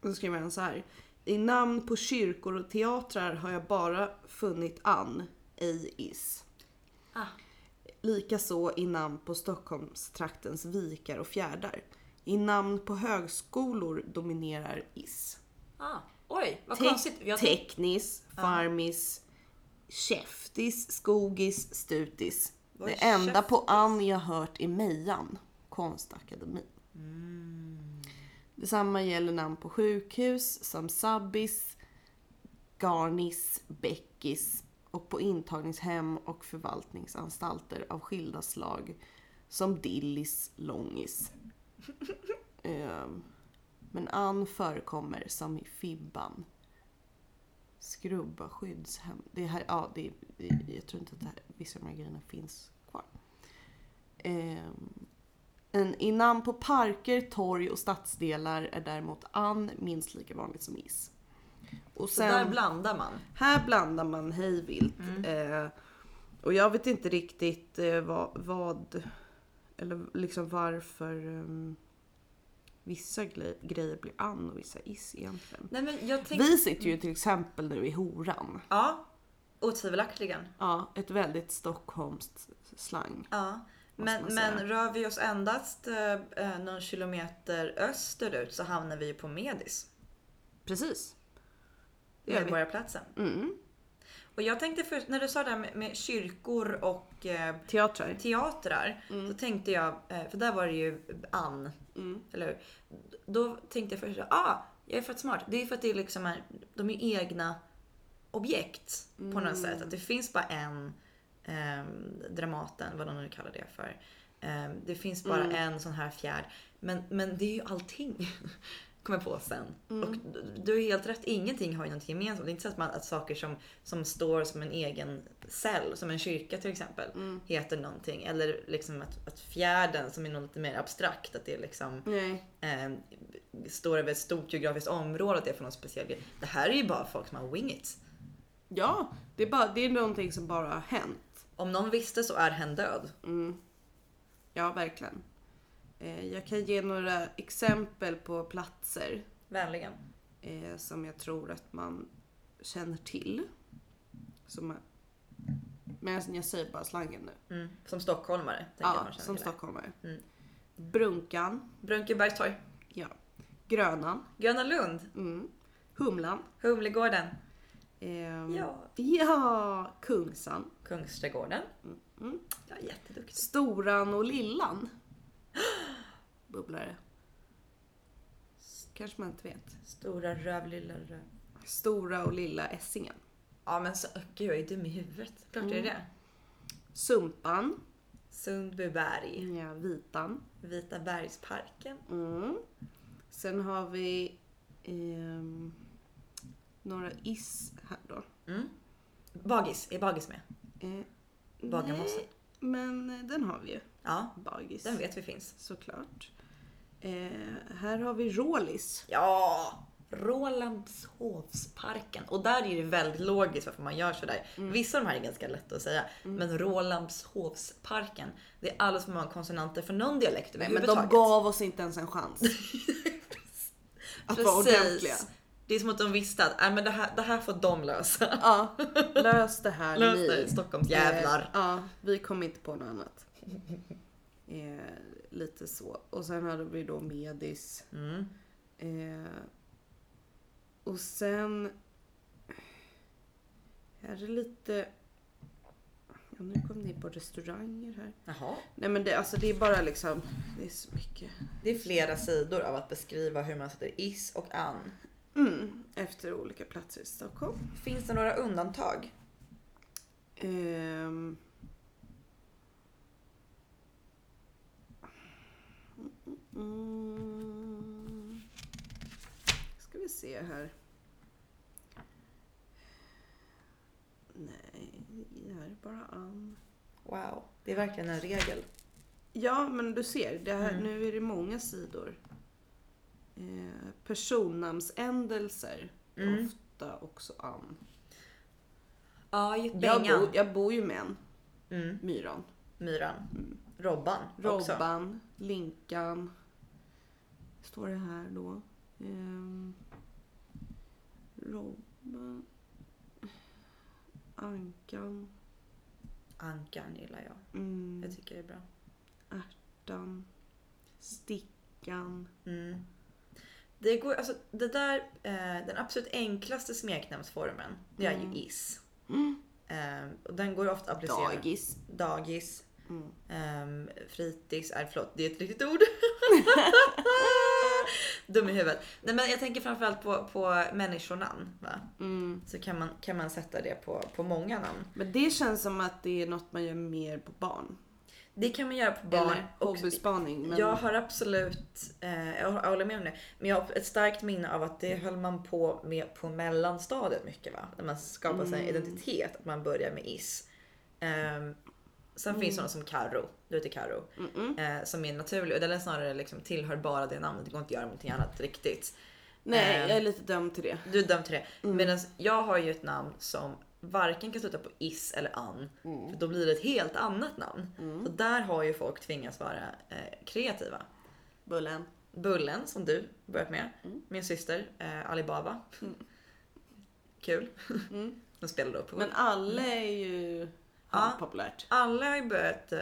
Speaker 2: då skriver han så här. I namn på kyrkor och teatrar har jag bara funnit an, ej is.
Speaker 1: Ah.
Speaker 2: Likaså i namn på Stockholmstraktens vikar och fjärdar. I namn på högskolor dominerar is.
Speaker 1: Ah, oj, vad
Speaker 2: Te-
Speaker 1: konstigt. Jag,
Speaker 2: Teknis, farmis, käftis, skogis, stutis.
Speaker 1: Vad
Speaker 2: det
Speaker 1: är
Speaker 2: enda på an jag hört är mejan, konstakademin.
Speaker 1: Mm.
Speaker 2: Detsamma gäller namn på sjukhus som sabbis, garnis, bäckis och på intagningshem och förvaltningsanstalter av skilda slag som dillis, långis. Ehm, men an förekommer som i fibban. Skrubba skyddshem. Det här, ja, det, det- jag tror inte att det här, vissa av de här grejerna finns kvar. Ehm, en, I namn på parker, torg och stadsdelar är däremot an minst lika vanligt som is. Och
Speaker 1: så där blandar man.
Speaker 2: här blandar man hejvilt. Eh, och jag vet inte riktigt eh, vad, vad eller liksom varför ehm, vissa gle- grejer blir an och vissa is egentligen.
Speaker 1: Nej, men jag tänkte...
Speaker 2: Vi sitter ju till exempel nu i horan.
Speaker 1: Ja, otvivelaktigen.
Speaker 2: Ja, ett väldigt stockholmskt slang.
Speaker 1: Ja.
Speaker 2: Måste
Speaker 1: Men,
Speaker 2: man
Speaker 1: men
Speaker 2: säga.
Speaker 1: rör vi oss endast eh, eh, någon kilometer österut så hamnar vi ju på Medis.
Speaker 2: Precis. Det gör vi.
Speaker 1: Medborgarplatsen.
Speaker 2: Mm.
Speaker 1: Och jag tänkte först, när du sa det här med, med kyrkor och eh,
Speaker 2: Teatrar.
Speaker 1: teatrar, så tänkte jag, eh, för där var det ju Ann, eller hur? Då tänkte jag först, ah, jag är fett smart. Det är för att det är liksom är, de är egna objekt på något sätt. Att det finns bara en ehm, Dramaten, vad de nu kallar det för. Ehm, det finns bara en sån här fjärd. Men, men det är ju allting. kommer jag på sen. Och du- du har helt rätt, ingenting har ju något gemensamt. Det är inte så att, man, att saker som, som står som en egen cell, som en kyrka till exempel,
Speaker 2: Mm.
Speaker 1: heter någonting. Eller liksom att, att fjärden som är något lite mer abstrakt, att det är liksom
Speaker 2: Nej.
Speaker 1: eh, står över ett stort geografiskt område, att det är för någon speciell grej. Det här är ju bara folk som har wing it.
Speaker 2: Ja, det är, bara, det är någonting som bara har hänt.
Speaker 1: Om någon visste så är hen död.
Speaker 2: Mm. Ja, verkligen. Eh, jag kan ge några exempel på platser
Speaker 1: Vänligen.
Speaker 2: eh, som jag tror att man känner till. Som man... Men jag säger bara slangen nu.
Speaker 1: Mm. Som stockholmare. tänker jag
Speaker 2: Ja,
Speaker 1: man känner
Speaker 2: som
Speaker 1: till.
Speaker 2: stockholmare.
Speaker 1: Mm.
Speaker 2: Brunkan.
Speaker 1: Brunkebergstorg.
Speaker 2: Ja. Grönan.
Speaker 1: Gröna Lund.
Speaker 2: Mm. Humlan.
Speaker 1: Humlegården.
Speaker 2: Ehm,
Speaker 1: Ja.
Speaker 2: ja. Kungsan.
Speaker 1: Kungsträdgården.
Speaker 2: Mm.
Speaker 1: Ja, jätteduktig.
Speaker 2: Storan och Lillan. Bubblare. Kanske man inte vet.
Speaker 1: Stora röv, lilla röv.
Speaker 2: Stora och Lilla Essingen.
Speaker 1: Ja men så, gud jag är dum i huvudet. Klart
Speaker 2: Mm.
Speaker 1: det är det.
Speaker 2: Sumpan.
Speaker 1: Sundbyberg.
Speaker 2: Ja, Vitan.
Speaker 1: Vita bergsparken.
Speaker 2: Mm. Sen har vi ehm, några is här då.
Speaker 1: Mm. Bagis, är Bagis med?
Speaker 2: Eh,
Speaker 1: Bagarmossen.
Speaker 2: nej, men den har vi ju.
Speaker 1: Ja,
Speaker 2: Bagis.
Speaker 1: den vet vi finns.
Speaker 2: Såklart. Eh, här har vi Rålis.
Speaker 1: Ja! Rålambshovsparken. Och där är det väldigt logiskt varför man gör sådär.
Speaker 2: Mm.
Speaker 1: Vissa av de här är ganska lätta att säga. Men Rålambshovsparken. Det är alldeles för många konsonanter för någon dialekt
Speaker 2: Nej, men de
Speaker 1: överhuvudtaget.
Speaker 2: gav oss inte ens en chans. att vara ordentliga.
Speaker 1: Det är som att de visste att "Nej, men det, här, det här får de lösa.
Speaker 2: Ja, lös det här
Speaker 1: Lös
Speaker 2: ni.
Speaker 1: det, Stockholmsjävlar.
Speaker 2: Eh, Ja, vi kom inte på något annat. Eh, lite så. Och sen hade vi då Medis.
Speaker 1: Mm.
Speaker 2: Eh, och sen... Här är lite... Ja, nu kom ni på restauranger här.
Speaker 1: Jaha.
Speaker 2: Nej men det, alltså det är bara liksom... Det är så mycket.
Speaker 1: Det är flera sidor av att beskriva hur man sätter is och an.
Speaker 2: Mm, efter olika platser i Stockholm.
Speaker 1: Finns det några undantag?
Speaker 2: Ehm. Mm. Ska vi se här. Nej, det här är bara Ann.
Speaker 1: Wow, det är verkligen en regel.
Speaker 2: Ja, men du ser. Det här,
Speaker 1: Mm.
Speaker 2: Nu är det många sidor. Eh, personnamnsändelser.
Speaker 1: Mm.
Speaker 2: Ofta också Ann.
Speaker 1: Ja,
Speaker 2: Jag,
Speaker 1: Bengan.
Speaker 2: bo, jag bor ju med en.
Speaker 1: Mm.
Speaker 2: Myran.
Speaker 1: Myran. Robban också.
Speaker 2: Mm. Robban, Linkan. Står det här då. Ehm, Robban. Ankan.
Speaker 1: Ankan gillar jag.
Speaker 2: Mm,
Speaker 1: Jag tycker det är bra.
Speaker 2: ärtan. Stickan.
Speaker 1: Mm. Det, går, alltså, det där, eh, den absolut enklaste smeknamnsformen, det är
Speaker 2: Mm.
Speaker 1: ju is. Eh, och den går ofta att applicera.
Speaker 2: Dagis.
Speaker 1: Dagis.
Speaker 2: Mm.
Speaker 1: Ehm, fritids, är förlåt, det är ett riktigt ord. Dum i huvudet. Nej, men jag tänker framförallt på, på människonamn. Va?
Speaker 2: Mm.
Speaker 1: Så kan man, kan man sätta det på, på många namn.
Speaker 2: Men det känns som att det är något man gör mer på barn.
Speaker 1: Det kan man göra på barn.
Speaker 2: Eller
Speaker 1: och-
Speaker 2: hobbyspaning. Men...
Speaker 1: Jag har absolut, eh, jag håller med om det, men jag har ett starkt minne av att det höll man på med på mellanstadiet mycket va? När man skapar sig en identitet, att man börjar med is. Ehm, sen finns sådana som Karo, du heter Karo, eh, som är naturlig och den är snarare liksom tillhör bara det namnet, det går inte att göra någonting annat riktigt.
Speaker 2: Nej,
Speaker 1: Ehm.
Speaker 2: jag är lite dömd till det.
Speaker 1: Du är dömd till det. Medan jag har ju ett namn som varken kan sluta på is eller an. För då blir det ett helt annat namn. Så där har ju folk tvingats vara eh, kreativa.
Speaker 2: Bullen.
Speaker 1: Bullen som du börjat med.
Speaker 2: Mm.
Speaker 1: Min syster eh, Alibaba. Kul.
Speaker 2: Mm.
Speaker 1: De spelar då på.
Speaker 2: Men alla är ju
Speaker 1: Ja.
Speaker 2: populärt.
Speaker 1: Alla har ju börjat eh,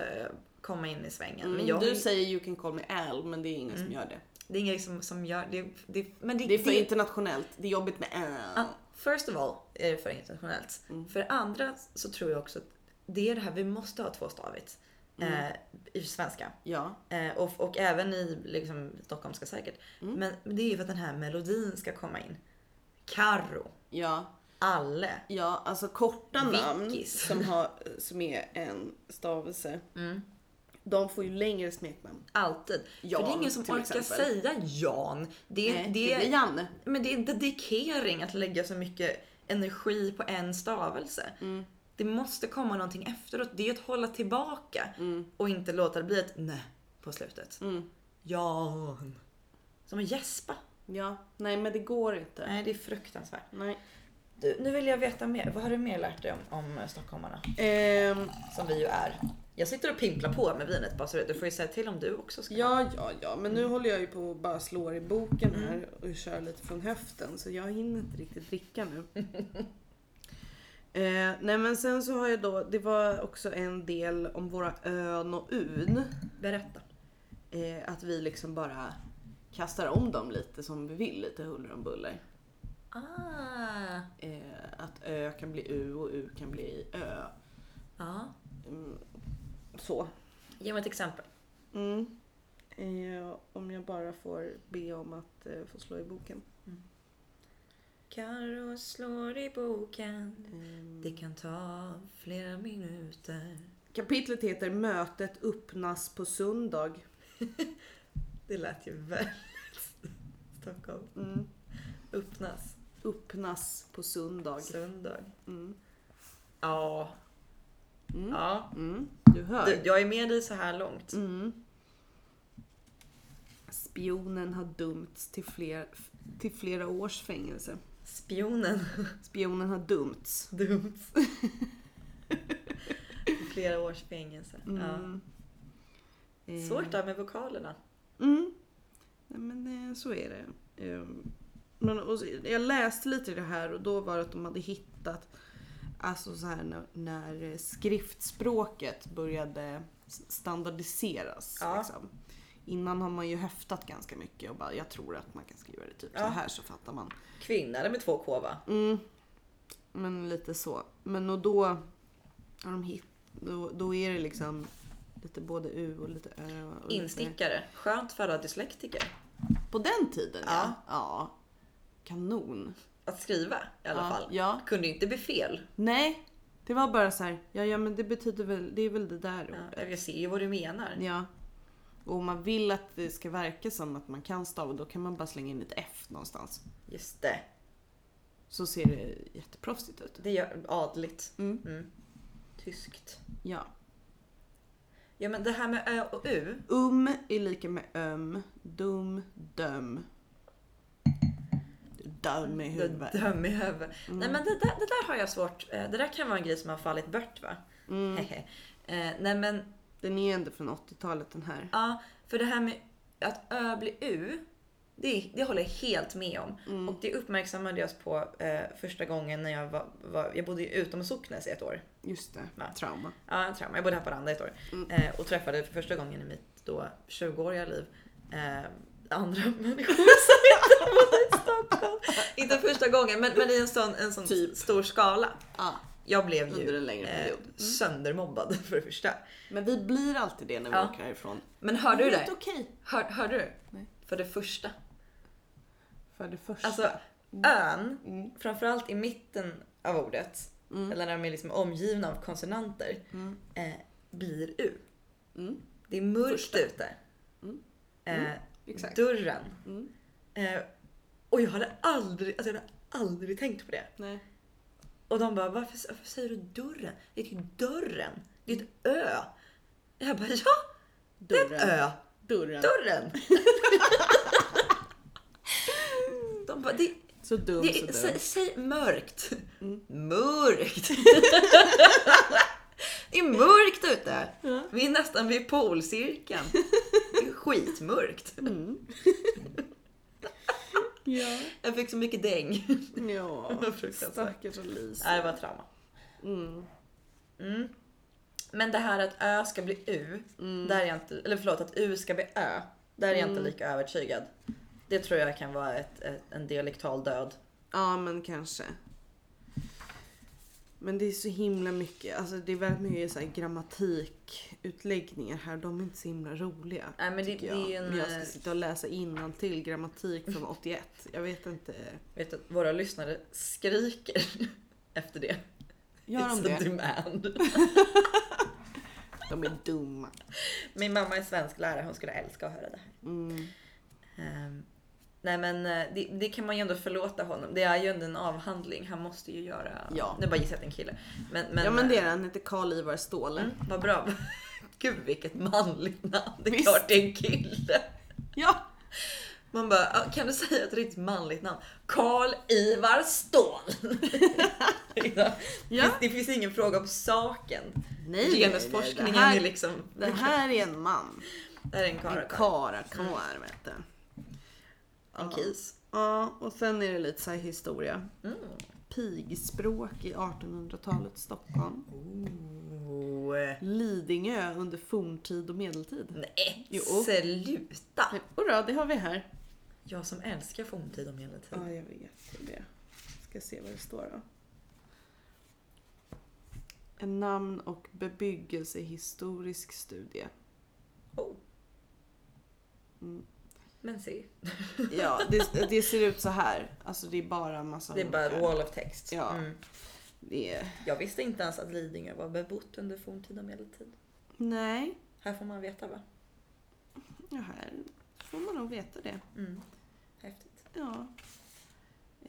Speaker 1: komma in i svängen.
Speaker 2: Mm,
Speaker 1: men jag, Mm.
Speaker 2: du säger you can call me Al, men det är ingen som gör det.
Speaker 1: det är ingen som, som gör det. det men det,
Speaker 2: Det är för
Speaker 1: det- Ah.
Speaker 2: internationellt, det är jobbigt med
Speaker 1: Ja,
Speaker 2: Al.
Speaker 1: First of all är det för internationellt.
Speaker 2: Mm.
Speaker 1: För det andra så tror jag också att det är det här vi måste ha tvåstavigt.
Speaker 2: Mm.
Speaker 1: Eh, I svenska.
Speaker 2: Ja.
Speaker 1: Eh, och, och även i liksom, stockholmska säkert.
Speaker 2: Mm.
Speaker 1: Men det är ju för att den här melodin ska komma in. Karro.
Speaker 2: Ja,
Speaker 1: Alle.
Speaker 2: ja, alltså korta namn
Speaker 1: Vickis. Mm.
Speaker 2: som, har, som är en stavelse. De får ju längre smeknamn.
Speaker 1: Alltid. För det är
Speaker 2: Jan,
Speaker 1: ingen som
Speaker 2: till
Speaker 1: orkar
Speaker 2: exempel.
Speaker 1: säga Jan. Det,
Speaker 2: Nej,
Speaker 1: det,
Speaker 2: det är Janne.
Speaker 1: Men det är dedikering att lägga så mycket energi på en stavelse.
Speaker 2: Mm.
Speaker 1: Det måste komma någonting efteråt. Det är att hålla tillbaka
Speaker 2: Mm.
Speaker 1: och inte låta det bli ett nej på slutet. Jan. Som att gäspa.
Speaker 2: Ja, nej men det går inte.
Speaker 1: Nej, det är fruktansvärt.
Speaker 2: Nej.
Speaker 1: Du, nu vill jag veta mer. Vad har du mer lärt dig om, om stockholmarna?
Speaker 2: Ehm,
Speaker 1: Som vi ju är. Jag sitter och pimplar på med vinet bara så du vet. Du får ju säga till om du också ska.
Speaker 2: ja, ja, ja, men nu håller jag ju på och bara slår i boken
Speaker 1: Mm.
Speaker 2: här och kör lite från höften så jag hinner inte riktigt dricka nu. eh, nej men sen så har jag då, det var också en del om våra ön och un.
Speaker 1: Berätta.
Speaker 2: Eh, att vi liksom bara kastar om dem lite som vi vill, lite huller om buller.
Speaker 1: Ah.
Speaker 2: Eh, att ö kan bli u och u kan bli ö.
Speaker 1: Ja.
Speaker 2: Mm, så.
Speaker 1: Ge mig ett exempel.
Speaker 2: Mm. Eh, om jag bara får be om att eh, få slå i boken.
Speaker 1: Karo slår i boken.
Speaker 2: Ehm,
Speaker 1: Det kan ta flera minuter.
Speaker 2: Kapitlet heter Mötet öppnas på söndag.
Speaker 1: Det lät ju väldigt Stockholm.
Speaker 2: Mm.
Speaker 1: Öppnas
Speaker 2: Öppnas på söndag.
Speaker 1: söndag.
Speaker 2: Mm.
Speaker 1: Ja.
Speaker 2: Mm.
Speaker 1: ja.
Speaker 2: Mm. Du hör.
Speaker 1: Du, jag är med dig så här långt.
Speaker 2: Mm. Spionen har dömts till, fler, till flera års fängelse.
Speaker 1: Spionen
Speaker 2: Spionen har dömts.
Speaker 1: dömts. I flera års fängelse. Ja.
Speaker 2: Mm. Eh,
Speaker 1: Svårt där med vokalerna.
Speaker 2: Mm. Nej, men eh, så är det. Ehm, Men, och, så- jag läste lite i det här och då var det att de hade hittat Alltså så här när, när eh, skriftspråket började s- standardiseras.
Speaker 1: Ja.
Speaker 2: Liksom. Innan har man ju höftat ganska mycket och bara jag tror att man kan skriva det typ
Speaker 1: Ja.
Speaker 2: så här så fattar man.
Speaker 1: Kvinna, eller med två K va?
Speaker 2: Mm. Men lite så. Men och då, har de hit, då, då är det liksom lite både U och lite Ö. Och lite-
Speaker 1: Instickare. Skönt för alla dyslektiker.
Speaker 2: På den tiden ja.
Speaker 1: Ja.
Speaker 2: Ja. Kanon.
Speaker 1: Att skriva i alla
Speaker 2: ja,
Speaker 1: fall.
Speaker 2: Ja.
Speaker 1: Kunde ju inte bli fel.
Speaker 2: Nej. Det var bara så här, ja, ja men det betyder väl, det är väl det där
Speaker 1: Ja,
Speaker 2: ordet.
Speaker 1: jag ser ju vad du menar.
Speaker 2: Ja. Och om man vill att det ska verka som att man kan stava då kan man bara slänga in ett F någonstans.
Speaker 1: Just det.
Speaker 2: Så ser det jätteproffsigt ut.
Speaker 1: Det gör adligt.
Speaker 2: Mm.
Speaker 1: Mm. Tyskt.
Speaker 2: Ja.
Speaker 1: Ja men det här med ö och u.
Speaker 2: Um är lika med öm, dum, döm. Du är Döm i huvudet. Mm.
Speaker 1: Döm i huvudet. Nej men det där, det där har jag svårt. eh, Det där kan vara en grej som har fallit bort va?
Speaker 2: Mm.
Speaker 1: Eh, Nej men
Speaker 2: Den är ändå från 80-talet den här.
Speaker 1: ja, för det här med att ö blir u. Det, det håller jag helt med om.
Speaker 2: Mm.
Speaker 1: Och det uppmärksammade jag på eh, första gången när jag var, var jag bodde ju utom Socknes i ett år.
Speaker 2: Just det,
Speaker 1: Ja.
Speaker 2: trauma.
Speaker 1: Ja, en trauma. Jag bodde i Haparanda i ett år.
Speaker 2: Mm.
Speaker 1: Eh, och träffade för första gången i mitt då 20-åriga liv eh, andra människor som inte bodde i Stockholm. Inte första gången, men, men i en sån, en sån
Speaker 2: Typ.
Speaker 1: stor skala.
Speaker 2: Ja,
Speaker 1: Jag blev
Speaker 2: under
Speaker 1: ju
Speaker 2: en längre
Speaker 1: eh,
Speaker 2: period. Mm.
Speaker 1: söndermobbad för det första.
Speaker 2: Men vi blir alltid det när vi
Speaker 1: Ja.
Speaker 2: åker härifrån. Mm,
Speaker 1: Men hörde du det?
Speaker 2: Helt okej.
Speaker 1: Hör, hörde du?
Speaker 2: Nej.
Speaker 1: För det första.
Speaker 2: För det första.
Speaker 1: Alltså ön,
Speaker 2: Mm.
Speaker 1: framförallt i mitten av ordet, eller när de är liksom omgivna av konsonanter,
Speaker 2: Mm.
Speaker 1: eh, blir u.
Speaker 2: Mm.
Speaker 1: Det är mörkt
Speaker 2: Första.
Speaker 1: ute.
Speaker 2: Mm.
Speaker 1: Eh,
Speaker 2: Exakt.
Speaker 1: dörren.
Speaker 2: Mm.
Speaker 1: Eh, och jag hade aldrig, alltså jag hade aldrig tänkt på det.
Speaker 2: Nej.
Speaker 1: Och de bara, varför, varför säger du dörren? Det är ju dörren. Det är ett ö. Jag bara, ja, det är ett
Speaker 2: Dörren.
Speaker 1: ö.
Speaker 2: Dörren.
Speaker 1: Dörren. de bara, det,
Speaker 2: Så dum
Speaker 1: det,
Speaker 2: så dum.
Speaker 1: sä, säg mörkt.
Speaker 2: Mm.
Speaker 1: Mörkt. det är mörkt ute.
Speaker 2: Ja.
Speaker 1: Vi är nästan vid polcirkeln. Det är skitmörkt.
Speaker 2: Mm. ja.
Speaker 1: Jag fick så mycket däng.
Speaker 2: Mm. Ja.
Speaker 1: Fruktansvärt.
Speaker 2: Stackars
Speaker 1: Nej, det
Speaker 2: Alice.
Speaker 1: var trauma.
Speaker 2: Mm.
Speaker 1: Mm. Men det här att ö ska bli u, där är jag inte, eller förlåt att u ska bli ö, där är jag inte
Speaker 2: Mm.
Speaker 1: lika övertygad. Det tror jag kan vara ett, ett, en dialektal död.
Speaker 2: Ja men kanske. Men det är så himla mycket, alltså det är väldigt mycket så här grammatikutläggningar här. De är inte så himla roliga.
Speaker 1: Nej men det,
Speaker 2: tycker
Speaker 1: det är
Speaker 2: jag.
Speaker 1: ju en...
Speaker 2: När jag ska
Speaker 1: eh,
Speaker 2: sitta och läsa till grammatik från 81. Jag vet inte.
Speaker 1: Vet du, att våra lyssnare skriker efter det.
Speaker 2: Gör
Speaker 1: It's
Speaker 2: de
Speaker 1: a
Speaker 2: det?
Speaker 1: demand.
Speaker 2: De är dumma.
Speaker 1: Min mamma är svensklärare, hon skulle älska att höra det här.
Speaker 2: Mm.
Speaker 1: Ehm, nej men eh, det, det kan man ju ändå förlåta honom. Det är ju ändå en avhandling. Han måste ju göra...
Speaker 2: Ja.
Speaker 1: Nu bara gissar jag att det är en kille. Men, men, eh,
Speaker 2: ja men det är det. Han heter Karl-Ivar Ståhle.
Speaker 1: Mm, vad bra. Gud vilket manligt namn. Det är
Speaker 2: Visst.
Speaker 1: klart det är en kille.
Speaker 2: Ja!
Speaker 1: Man bara, "Ja, kan du säga ett riktigt manligt namn? Karl-Ivar Ståhl. ja.
Speaker 2: Ja.
Speaker 1: Det finns ingen fråga om saken.
Speaker 2: Nej, nej,
Speaker 1: Genusforskningen
Speaker 2: nej, det här-
Speaker 1: är liksom...
Speaker 2: Det här är en man.
Speaker 1: Det här är en karl.
Speaker 2: En
Speaker 1: Mm.
Speaker 2: karakar vet du.
Speaker 1: En kis.
Speaker 2: Ja, och sen är det lite så här historia.
Speaker 1: Mm.
Speaker 2: Pigspråk i 1800-talets Stockholm.
Speaker 1: Oh.
Speaker 2: Lidingö under forntid och medeltid.
Speaker 1: Nej,
Speaker 2: Jo.
Speaker 1: sluta!
Speaker 2: Och då, det har vi här.
Speaker 1: Jag som älskar forntid om hela tiden.
Speaker 2: Ja, jag vet det. Ska se vad det står då. En namn och bebyggelsehistorisk studie.
Speaker 1: Oh.
Speaker 2: Mm.
Speaker 1: Men se,
Speaker 2: Ja, det, det ser ut så här. Alltså det är bara en massa
Speaker 1: det är bara
Speaker 2: hunkar.
Speaker 1: wall of text.
Speaker 2: Ja.
Speaker 1: Mm.
Speaker 2: Det är...
Speaker 1: Jag visste inte ens att Lidingö var bebott under forntid och medeltid.
Speaker 2: Nej,
Speaker 1: Här får man veta va?
Speaker 2: ja, här får man nog veta det.
Speaker 1: Mm. Häftigt.
Speaker 2: Ja.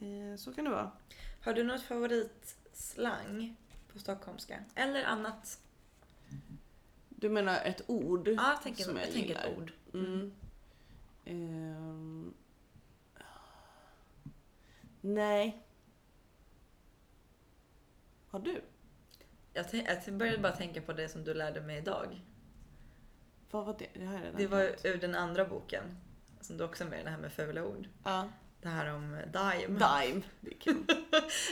Speaker 2: Eh, så kan det vara.
Speaker 1: Har du något favoritslang på stockholmska? Eller annat?
Speaker 2: Du menar ett ord?
Speaker 1: Ja, jag tänker,
Speaker 2: Som jag
Speaker 1: jag tänker ett
Speaker 2: gillar.
Speaker 1: ord.
Speaker 2: Mm. Ehm. Nej. Har du?
Speaker 1: Jag, tän- jag började bara tänka på det som du lärde mig idag.
Speaker 2: Vad var det? Det har jag redan
Speaker 1: Det var
Speaker 2: glömt.
Speaker 1: ur den andra boken. Som du också är med i, det här med fula ord.
Speaker 2: Ja.
Speaker 1: Det här om dime.
Speaker 2: Dime. Det är kul.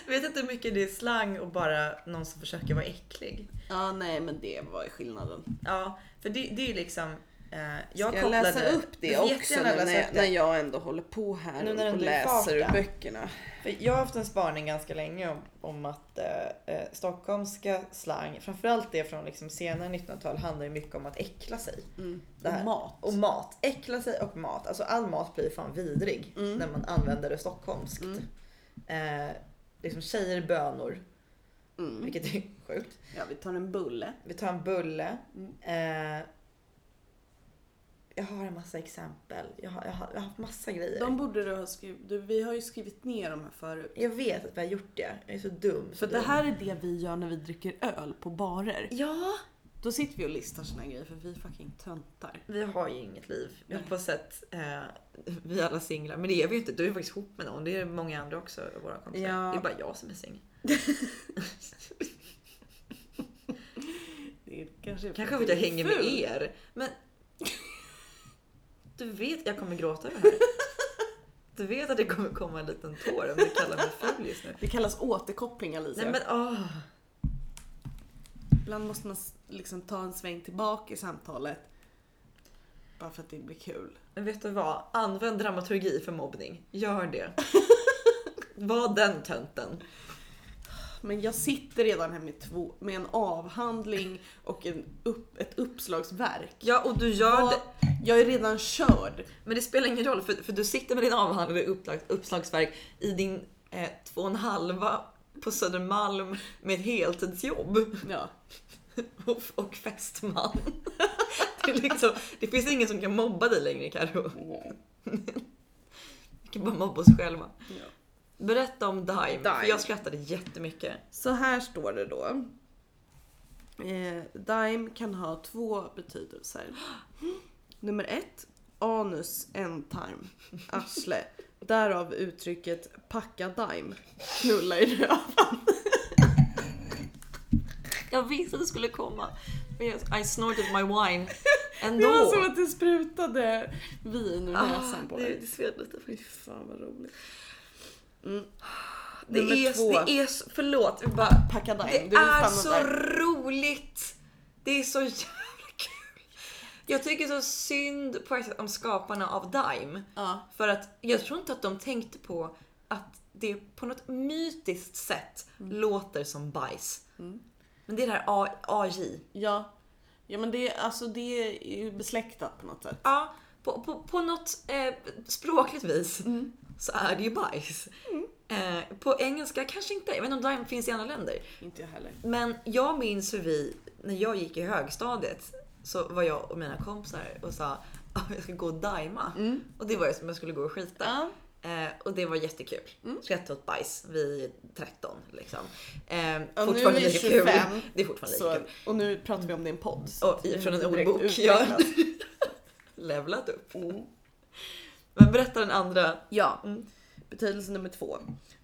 Speaker 1: Jag vet inte hur mycket det är slang och bara någon som försöker vara äcklig.
Speaker 2: ja, nej men det var ju skillnaden.
Speaker 1: Ja, för det, det är ju liksom... Eh, jag
Speaker 2: Jag Ska jag
Speaker 1: kopplade,
Speaker 2: läsa upp det
Speaker 1: Du får
Speaker 2: också
Speaker 1: jättegärna
Speaker 2: när,
Speaker 1: läsa
Speaker 2: jag-
Speaker 1: upp det.
Speaker 2: när jag ändå håller på här
Speaker 1: Nu när
Speaker 2: och
Speaker 1: du är
Speaker 2: läser ur
Speaker 1: farta.
Speaker 2: böckerna?
Speaker 1: För jag har haft en spaning ganska länge om, om att eh, eh, stockholmska slang, framförallt det från liksom senare 1900-tal, handlar ju mycket om att äckla sig.
Speaker 2: Mm.
Speaker 1: Det här.
Speaker 2: Och mat.
Speaker 1: Och mat. Äckla sig och mat. Alltså all mat blir fan vidrig
Speaker 2: Mm.
Speaker 1: när man använder det stockholmskt.
Speaker 2: Mm.
Speaker 1: Eh, liksom tjejer bönor,
Speaker 2: Mm.
Speaker 1: vilket är sjukt.
Speaker 2: Ja, vi tar en bulle.
Speaker 1: Vi tar en bulle.
Speaker 2: Mm.
Speaker 1: Eh, jag har en massa exempel. Jag har, jag har, jag har haft massa grejer.
Speaker 2: De borde du ha skrivit. Du, vi har ju skrivit ner de här förut.
Speaker 1: Jag vet att vi har gjort det. Jag är så dum. så
Speaker 2: För det
Speaker 1: dum.
Speaker 2: här är det vi gör när vi dricker öl på barer.
Speaker 1: Ja!
Speaker 2: Då sitter vi och listar såna här grejer för vi är fucking töntar.
Speaker 1: Vi har ju inget liv. Jag
Speaker 2: Nej.
Speaker 1: höll på sätt. Eh, vi är alla singlar. Men det är vi ju inte. Du är ju faktiskt ihop med någon. Det är många andra också. i Våra kompisar.
Speaker 2: Ja.
Speaker 1: Det är bara jag som är singel.
Speaker 2: Det är kanske
Speaker 1: Kanske för att jag hänger med er. Men... Du vet jag kommer gråta över det här. Du vet att det kommer komma en liten tår om du kallar mig ful just nu.
Speaker 2: Det kallas återkoppling Alicia.
Speaker 1: Nej men åh.
Speaker 2: Ibland måste man s- liksom ta en sväng tillbaka i samtalet. Bara för att det blir kul.
Speaker 1: Men vet du vad? Använd dramaturgi för mobbning. Gör det. Var den tönten.
Speaker 2: Men jag sitter redan här med, två, med en avhandling och en upp, ett uppslagsverk.
Speaker 1: Ja, och du gör
Speaker 2: Vad-
Speaker 1: det.
Speaker 2: Jag är redan körd.
Speaker 1: Men det spelar ingen roll för, för du sitter med din avhandlade uppslag, uppslagsverk i din eh, två och en halva på Södermalm med ett heltidsjobb
Speaker 2: Ja.
Speaker 1: och, och fästman. Det, är liksom, det finns ingen som kan mobba dig längre Karo. Vi kan bara mobba oss själva.
Speaker 2: ja.
Speaker 1: Berätta om Dime, för
Speaker 2: Dime.
Speaker 1: jag skrattade jättemycket.
Speaker 2: Så här står det då. Eh, dime kan ha två betydelser. Nummer ett, anus, ändtarm, arsle. Därav uttrycket packa dime, knulla i röv.
Speaker 1: Jag visste att det skulle komma. Men jag- I snorted my wine
Speaker 2: Det
Speaker 1: ändå. Ah,
Speaker 2: var som att det sprutade vin ur näsan på
Speaker 1: det,
Speaker 2: dig.
Speaker 1: det sved lite.
Speaker 2: Fy Ah, fan vad roligt. Mm.
Speaker 1: Det
Speaker 2: Nummer
Speaker 1: är,
Speaker 2: två,
Speaker 1: det är så, förlåt, jag bara,
Speaker 2: packa dime.
Speaker 1: det
Speaker 2: Du vill fan
Speaker 1: är
Speaker 2: vara
Speaker 1: så
Speaker 2: dime.
Speaker 1: roligt. Det är så jävla kul. Jag tycker så synd på ett sätt om skaparna av Dime.
Speaker 2: Ja.
Speaker 1: För att jag tror inte att de tänkte på att det på något mytiskt sätt låter som bajs. Men det är det här A- AJ.
Speaker 2: Ja. Ja men det, alltså det är ju besläktat på något sätt.
Speaker 1: Ja, Mm. på, på, på något eh, språkligt vis så är det ju bajs. Eh, på engelska kanske inte, jag vet inte om Dime finns i andra länder.
Speaker 2: Inte jag heller.
Speaker 1: Men jag minns hur vi, när jag gick i högstadiet, så var jag och mina kompisar och sa att jag ska gå och dajma.
Speaker 2: Mm.
Speaker 1: Och det var ju som om jag skulle gå och skita. Eh, och det var jättekul.
Speaker 2: Mm.
Speaker 1: Skrattade åt bajs. Vi är 13 liksom. Eh, fortfarande
Speaker 2: nu är
Speaker 1: lika
Speaker 2: 25,
Speaker 1: kul. Det är fortfarande lika
Speaker 2: Så,
Speaker 1: kul.
Speaker 2: och nu pratar vi om det i en podd. så
Speaker 1: Och
Speaker 2: det är
Speaker 1: från en
Speaker 2: inte direkt
Speaker 1: ordbok. Ja.
Speaker 2: utvecklat.
Speaker 1: Levlat upp.
Speaker 2: Mm.
Speaker 1: Men berätta den andra.
Speaker 2: Ja. Mm. Betydelse nummer två.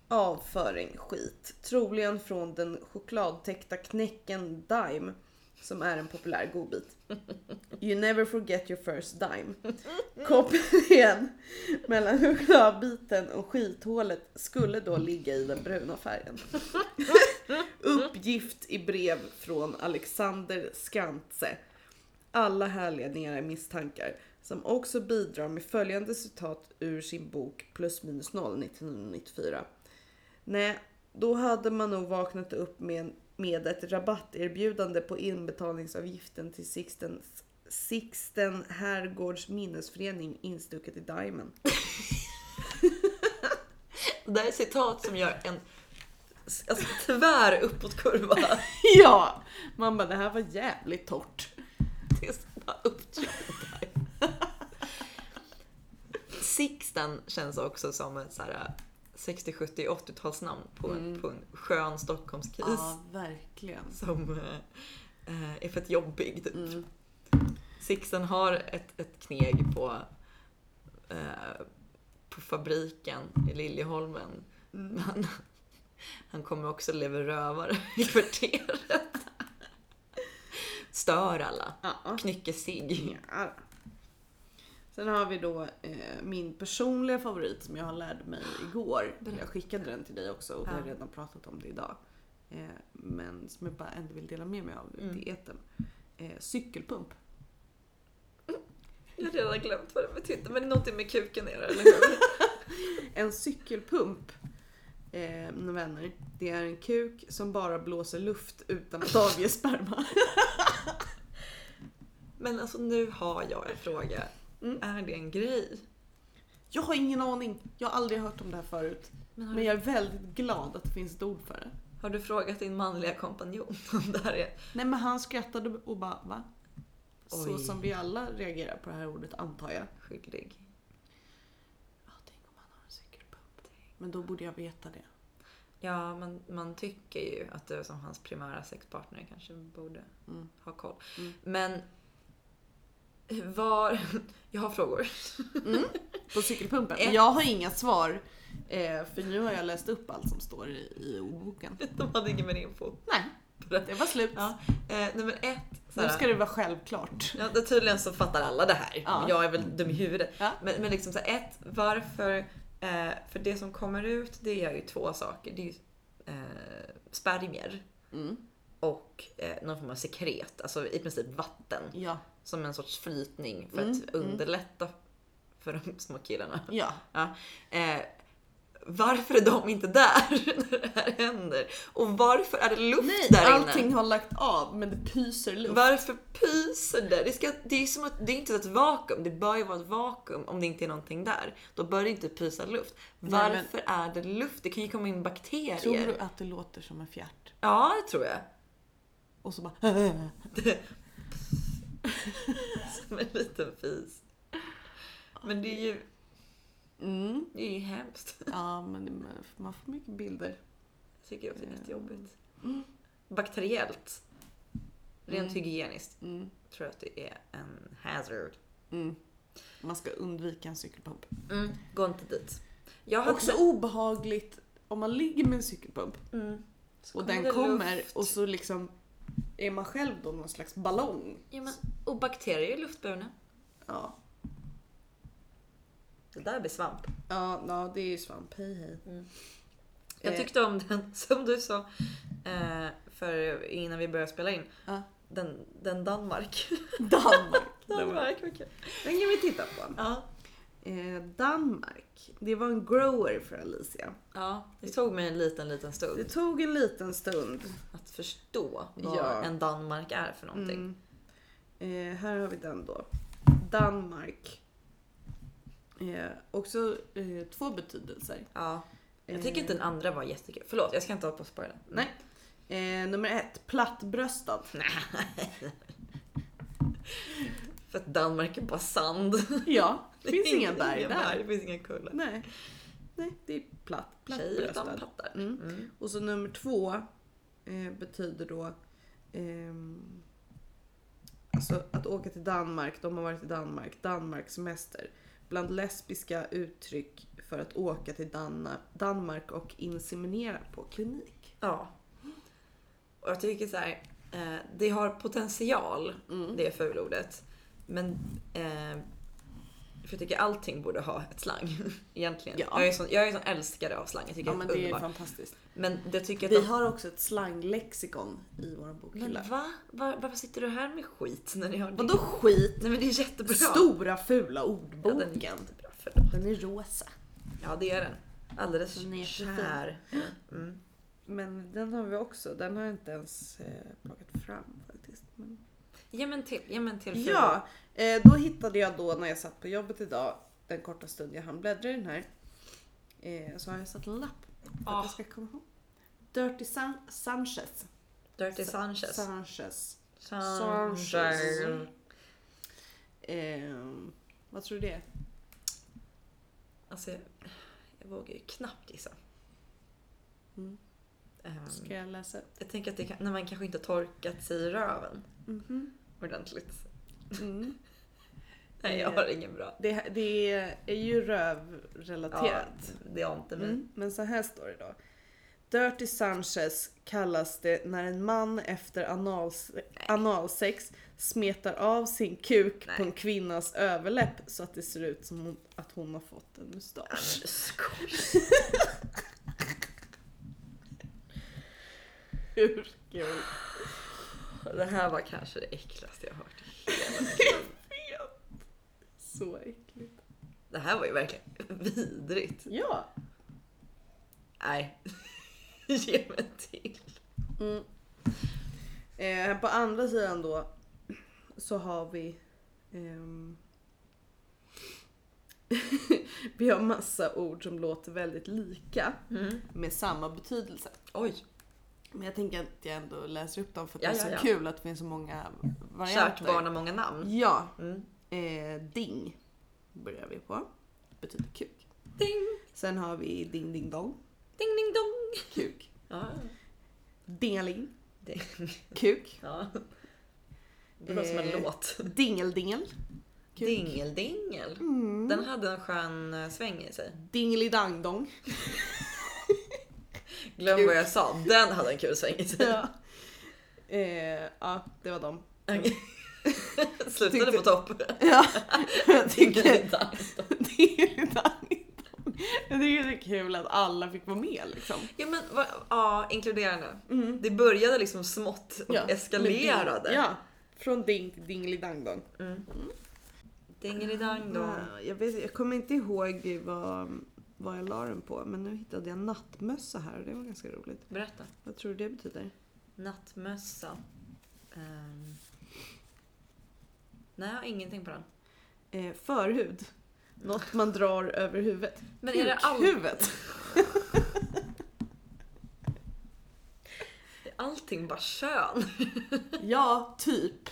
Speaker 2: Avföring, skit. Troligen från den chokladtäckta knäcken Dime. Som är en populär godbit. You never forget your first dime. Kopplingen mellan chokladbiten och skithålet skulle då ligga i den bruna färgen. Uppgift i brev från Alexander Skantze alla härledningar är misstankar som också bidrar med följande citat ur sin bok plus minus noll 1994. Nej, då hade man nog vaknat upp med, en, med ett rabatterbjudande på inbetalningsavgiften till Sixtens, Sixten Herrgårds minnesförening instucket i Diamond.
Speaker 1: Det där är citat som gör en alltså, tvär uppåtkurva.
Speaker 2: Ja, man bara det här var jävligt torrt.
Speaker 1: Det är så bara upptryckta. Sixten känns också som ett så här 60, 70, 80-talsnamn på, en- på en skön Stockholmskis
Speaker 2: verkligen.
Speaker 1: som eh, eh, är fett jobbig
Speaker 2: Mm.
Speaker 1: typ. Sixten har ett, ett kneg på, eh, på fabriken i Liljeholmen. Men han kommer också leva rövare i kvarteret. Stör alla.
Speaker 2: Ja.
Speaker 1: Knycker sig.
Speaker 2: Ja. Sen har vi då eh, min personliga favorit som jag lärde mig igår. Jag skickade den till dig också och vi har
Speaker 1: Ja.
Speaker 2: redan pratat om det idag. Eh, men som jag bara ändå vill dela med mig av
Speaker 1: Mm.
Speaker 2: i etern. Eh, cykelpump.
Speaker 1: Jag har redan glömt vad det betyder, men det är någonting med kuken är det, eller hur?
Speaker 2: En cykelpump, eh, mina vänner, det är en kuk som bara blåser luft utan att avge sperma.
Speaker 1: Men alltså nu har jag en fråga.
Speaker 2: Mm.
Speaker 1: Är det en grej?
Speaker 2: Jag har ingen aning, jag har aldrig hört om det här förut.
Speaker 1: Men har,
Speaker 2: Men
Speaker 1: du,
Speaker 2: jag är väldigt glad att det finns ett ord för det.
Speaker 1: har du frågat din manliga kompanjon om det här är...
Speaker 2: Nej men han skrattade och bara va? Så
Speaker 1: Oj.
Speaker 2: som vi alla reagerar på det här ordet antar jag.
Speaker 1: skyldig?
Speaker 2: Ja, tänk om han har en cykelpump. Men då borde jag veta det.
Speaker 1: Ja, men man tycker ju att du som hans primära sexpartner kanske borde
Speaker 2: Mm.
Speaker 1: ha koll.
Speaker 2: Mm.
Speaker 1: Men var... Jag har frågor.
Speaker 2: Mm. På cykelpumpen.
Speaker 1: Ett.
Speaker 2: Eh. Jag har inga svar. Eh, för nu har jag läst upp allt som står i, i ordboken.
Speaker 1: De hade ingen mer info.
Speaker 2: Nej,
Speaker 1: det.
Speaker 2: det var slut.
Speaker 1: Ja, Eh, nummer ett.
Speaker 2: nu
Speaker 1: Sara.
Speaker 2: ska det vara självklart.
Speaker 1: Ja, det, tydligen så fattar alla det här.
Speaker 2: Ja.
Speaker 1: Jag är väl dum i huvudet.
Speaker 2: Ja.
Speaker 1: Men, men liksom så här, ett, varför? Eh, för det som kommer ut det är ju två saker. Det är ju eh, spermier
Speaker 2: Mm.
Speaker 1: och eh, någon form av sekret, alltså i princip vatten.
Speaker 2: Ja.
Speaker 1: Som en sorts flytning för
Speaker 2: Mm,
Speaker 1: att
Speaker 2: mm.
Speaker 1: underlätta för de små killarna.
Speaker 2: ja.
Speaker 1: Eh, varför är de inte där när det här händer? Och varför är det luft
Speaker 2: Nej,
Speaker 1: där inne?
Speaker 2: allting har lagt av men det pyser luft.
Speaker 1: Varför pyser det? Det, ska, det, är som att, det är inte ett vakuum. Det bör ju vara ett vakuum om det inte är någonting där. Då bör det inte pysa luft.
Speaker 2: Nej,
Speaker 1: Varför är det luft? Det kan ju komma in bakterier.
Speaker 2: Tror du att det låter som en fjärt?
Speaker 1: Ja, det tror jag.
Speaker 2: Och så bara...
Speaker 1: Som en liten fis. Men det är ju,
Speaker 2: Mm.
Speaker 1: det är ju hemskt.
Speaker 2: Ja, men det- man får mycket bilder.
Speaker 1: Jag tycker också det är jättejobbigt. Bakteriellt. Rent
Speaker 2: Mm.
Speaker 1: hygieniskt
Speaker 2: Mm.
Speaker 1: tror jag att det är en hazard.
Speaker 2: Mm. Man ska undvika en cykelpump.
Speaker 1: Gå inte dit. Jag hade-
Speaker 2: Mm. Också obehagligt om man ligger med en cykelpump
Speaker 1: Mm. Så
Speaker 2: och
Speaker 1: kommer
Speaker 2: den
Speaker 1: det
Speaker 2: kommer
Speaker 1: luft.
Speaker 2: och så liksom är man själv då någon slags ballong.
Speaker 1: Ja, men, och bakterier är luftburna.
Speaker 2: Ja,
Speaker 1: Det där blir svamp.
Speaker 2: ja, ja det är ju svamp. Hej hej.
Speaker 1: Mm. Jag
Speaker 2: Eh.
Speaker 1: tyckte om den som du sa eh, för innan vi började spela in.
Speaker 2: Ja.
Speaker 1: Den, den Danmark.
Speaker 2: Danmark. det var-
Speaker 1: Danmark, okej.
Speaker 2: Den kan vi titta på.
Speaker 1: Ja.
Speaker 2: Eh, Danmark. Det var en grower för Alicia.
Speaker 1: ja, det tog mig en liten, liten
Speaker 2: Det
Speaker 1: stund
Speaker 2: tog en liten stund.
Speaker 1: att förstå vad
Speaker 2: Ja.
Speaker 1: en Danmark är för någonting.
Speaker 2: Mm. Eh, här har vi den då. Danmark. Eh, också eh, två betydelser.
Speaker 1: Ja. Jag tycker inte den andra var jättekul. Förlåt, jag ska inte hålla på och spara den.
Speaker 2: Eh. Nej. Eh, nummer ett, plattbröstad.
Speaker 1: För att Danmark är bara sand.
Speaker 2: Ja, det finns inga berg
Speaker 1: inga
Speaker 2: där.
Speaker 1: Det finns inga kullar.
Speaker 2: Nej. Nej, det är platt.
Speaker 1: Tjejer utan
Speaker 2: Plattbröstad.
Speaker 1: pattar.
Speaker 2: Mm.
Speaker 1: Mm.
Speaker 2: Och så nummer två eh, betyder då ehm, alltså att åka till Danmark, de har varit i Danmark, Danmarkssemester. Bland lesbiska uttryck för att åka till Danna, Danmark och inseminera på klinik.
Speaker 1: Ja. Och jag tycker så här, eh, det har potential,
Speaker 2: Mm.
Speaker 1: det fulordet. Men eh, för jag tycker allting borde ha ett slang egentligen.
Speaker 2: Ja.
Speaker 1: Jag är sån, jag är sån älskare av slang. Jag tycker
Speaker 2: Ja men
Speaker 1: det är
Speaker 2: det är
Speaker 1: underbart.
Speaker 2: fantastiskt.
Speaker 1: Men jag tycker att
Speaker 2: Vi
Speaker 1: de-
Speaker 2: har också ett slanglexikon i vår bokhylla.
Speaker 1: Men va? Var, varför sitter du här med skit när ni har det?
Speaker 2: Vadå skit?
Speaker 1: Nej men det är jättebra.
Speaker 2: Stora fula
Speaker 1: Ja, den är
Speaker 2: ordboken.
Speaker 1: jättebra. Förlåt.
Speaker 2: den är rosa.
Speaker 1: Ja det är den. Alldeles
Speaker 2: Den är
Speaker 1: kär. Mm.
Speaker 2: Men den har vi också. Den har jag inte ens eh, plockat fram faktiskt. Men...
Speaker 1: Ge mig en till. Ge mig en till. ful.
Speaker 2: Ja, eh, då hittade jag då när jag satt på jobbet idag, den korta stund jag hann bläddra i den här, eh, så har jag satt en lapp för
Speaker 1: Ah.
Speaker 2: att jag ska komma ihåg. Dirty San- Sanchez.
Speaker 1: Dirty Sanchez.
Speaker 2: Sanchez.
Speaker 1: Sanchez.
Speaker 2: Sanchez. Eh, vad tror du det är?
Speaker 1: Alltså jag, jag vågar ju knappt gissa.
Speaker 2: Mm.
Speaker 1: Ehm,
Speaker 2: Ska jag läsa upp?
Speaker 1: jag tänker att det kan, när man kanske inte har torkat sig i röven
Speaker 2: Mhm.
Speaker 1: ordentligt.
Speaker 2: Mm.
Speaker 1: Nej jag
Speaker 2: Eh,
Speaker 1: har ingen bra.
Speaker 2: Det, det är ju rövrelaterat.
Speaker 1: det är inte min.
Speaker 2: Mm, men så här står det då. Dirty Sanchez kallas det när en man efter anals- analsex smetar av sin kuk på
Speaker 1: Nej.
Speaker 2: en kvinnas överläpp så att det ser ut som hon, att hon har fått en mustasch.
Speaker 1: Skoj.
Speaker 2: Hur kul?
Speaker 1: Det här var kanske det äckligaste jag hört.
Speaker 2: Så äckligt.
Speaker 1: Det här var ju verkligen vidrigt.
Speaker 2: Ja.
Speaker 1: Nej. Ge mig en till.
Speaker 2: Mm. Eh, här på andra sidan då så har vi ehm, Vi har massa ord som låter väldigt lika med samma betydelse.
Speaker 1: Oj.
Speaker 2: Men jag tänker att jag ändå läser upp dem för att
Speaker 1: Ja,
Speaker 2: det är
Speaker 1: ja,
Speaker 2: så
Speaker 1: ja.
Speaker 2: kul att det finns så många varianter.
Speaker 1: Kärt barn har många namn.
Speaker 2: Ja.
Speaker 1: Mm.
Speaker 2: Eh, ding börjar vi på. Betyder kuk.
Speaker 1: Ding,
Speaker 2: Sen har vi ding ding dong.
Speaker 1: ding, ding, dong.
Speaker 2: Kuk.
Speaker 1: Ja.
Speaker 2: Dingeling.
Speaker 1: Det,
Speaker 2: Kuk.
Speaker 1: ja. det låter som en
Speaker 2: Eh,
Speaker 1: låt.
Speaker 2: Dingeldingel. Kuk.
Speaker 1: Dingel, dingel.
Speaker 2: Mm.
Speaker 1: Den hade en skön eh, sväng i sig.
Speaker 2: Dingelidangdong.
Speaker 1: Glöm
Speaker 2: Kul.
Speaker 1: vad jag sa. Den hade en kul sväng i sig.
Speaker 2: Ja. Eh, ja, det var dem.
Speaker 1: Okej. Slutade
Speaker 2: Tyckte-
Speaker 1: på topp.
Speaker 2: Ja, jag tycker
Speaker 1: Dingelidang.
Speaker 2: dingelidangdong. Jag tycker det är kul att alla fick vara med liksom.
Speaker 1: Ja men va, ja, inkluderande.
Speaker 2: Mm.
Speaker 1: Det började liksom smått och
Speaker 2: Ja, med
Speaker 1: eskalerade.
Speaker 2: ding- Ja, från ding till dingelidangdong.
Speaker 1: Mm. Dingelidang dong.
Speaker 2: Ja, jag, vet, jag kommer inte ihåg vad, vad jag la den på, men nu hittade jag nattmössa här och det var ganska roligt.
Speaker 1: Berätta.
Speaker 2: Vad tror du det betyder?
Speaker 1: Nattmössa. Ehm. Nej, jag har ingenting på den.
Speaker 2: Eh, förhud. Något man drar över huvudet.
Speaker 1: Men är det, all,
Speaker 2: Kukhuvudet.
Speaker 1: är allting bara kön?
Speaker 2: Ja, typ.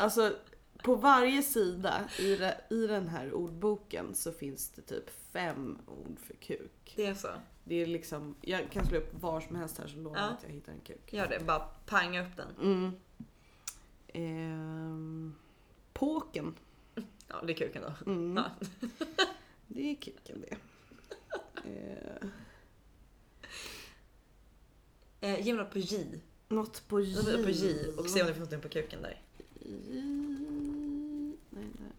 Speaker 2: Alltså, på varje sida i, det- i den här ordboken så finns det typ fem ord för kuk.
Speaker 1: Det är så.
Speaker 2: Det är liksom, jag kan slå upp var som helst här så lovar jag
Speaker 1: Ja.
Speaker 2: att jag hittar en kuk.
Speaker 1: Gör det, bara panga upp den.
Speaker 2: Mm. Ehm, påken.
Speaker 1: Ja, det är kuken då.
Speaker 2: Mm.
Speaker 1: Ja.
Speaker 2: Det är kuken det. Eh,
Speaker 1: Eh, ge mig något på J.
Speaker 2: något på J.
Speaker 1: Jag tar upp på J och se om det finns någonting på kuken där.
Speaker 2: J. Nej, där.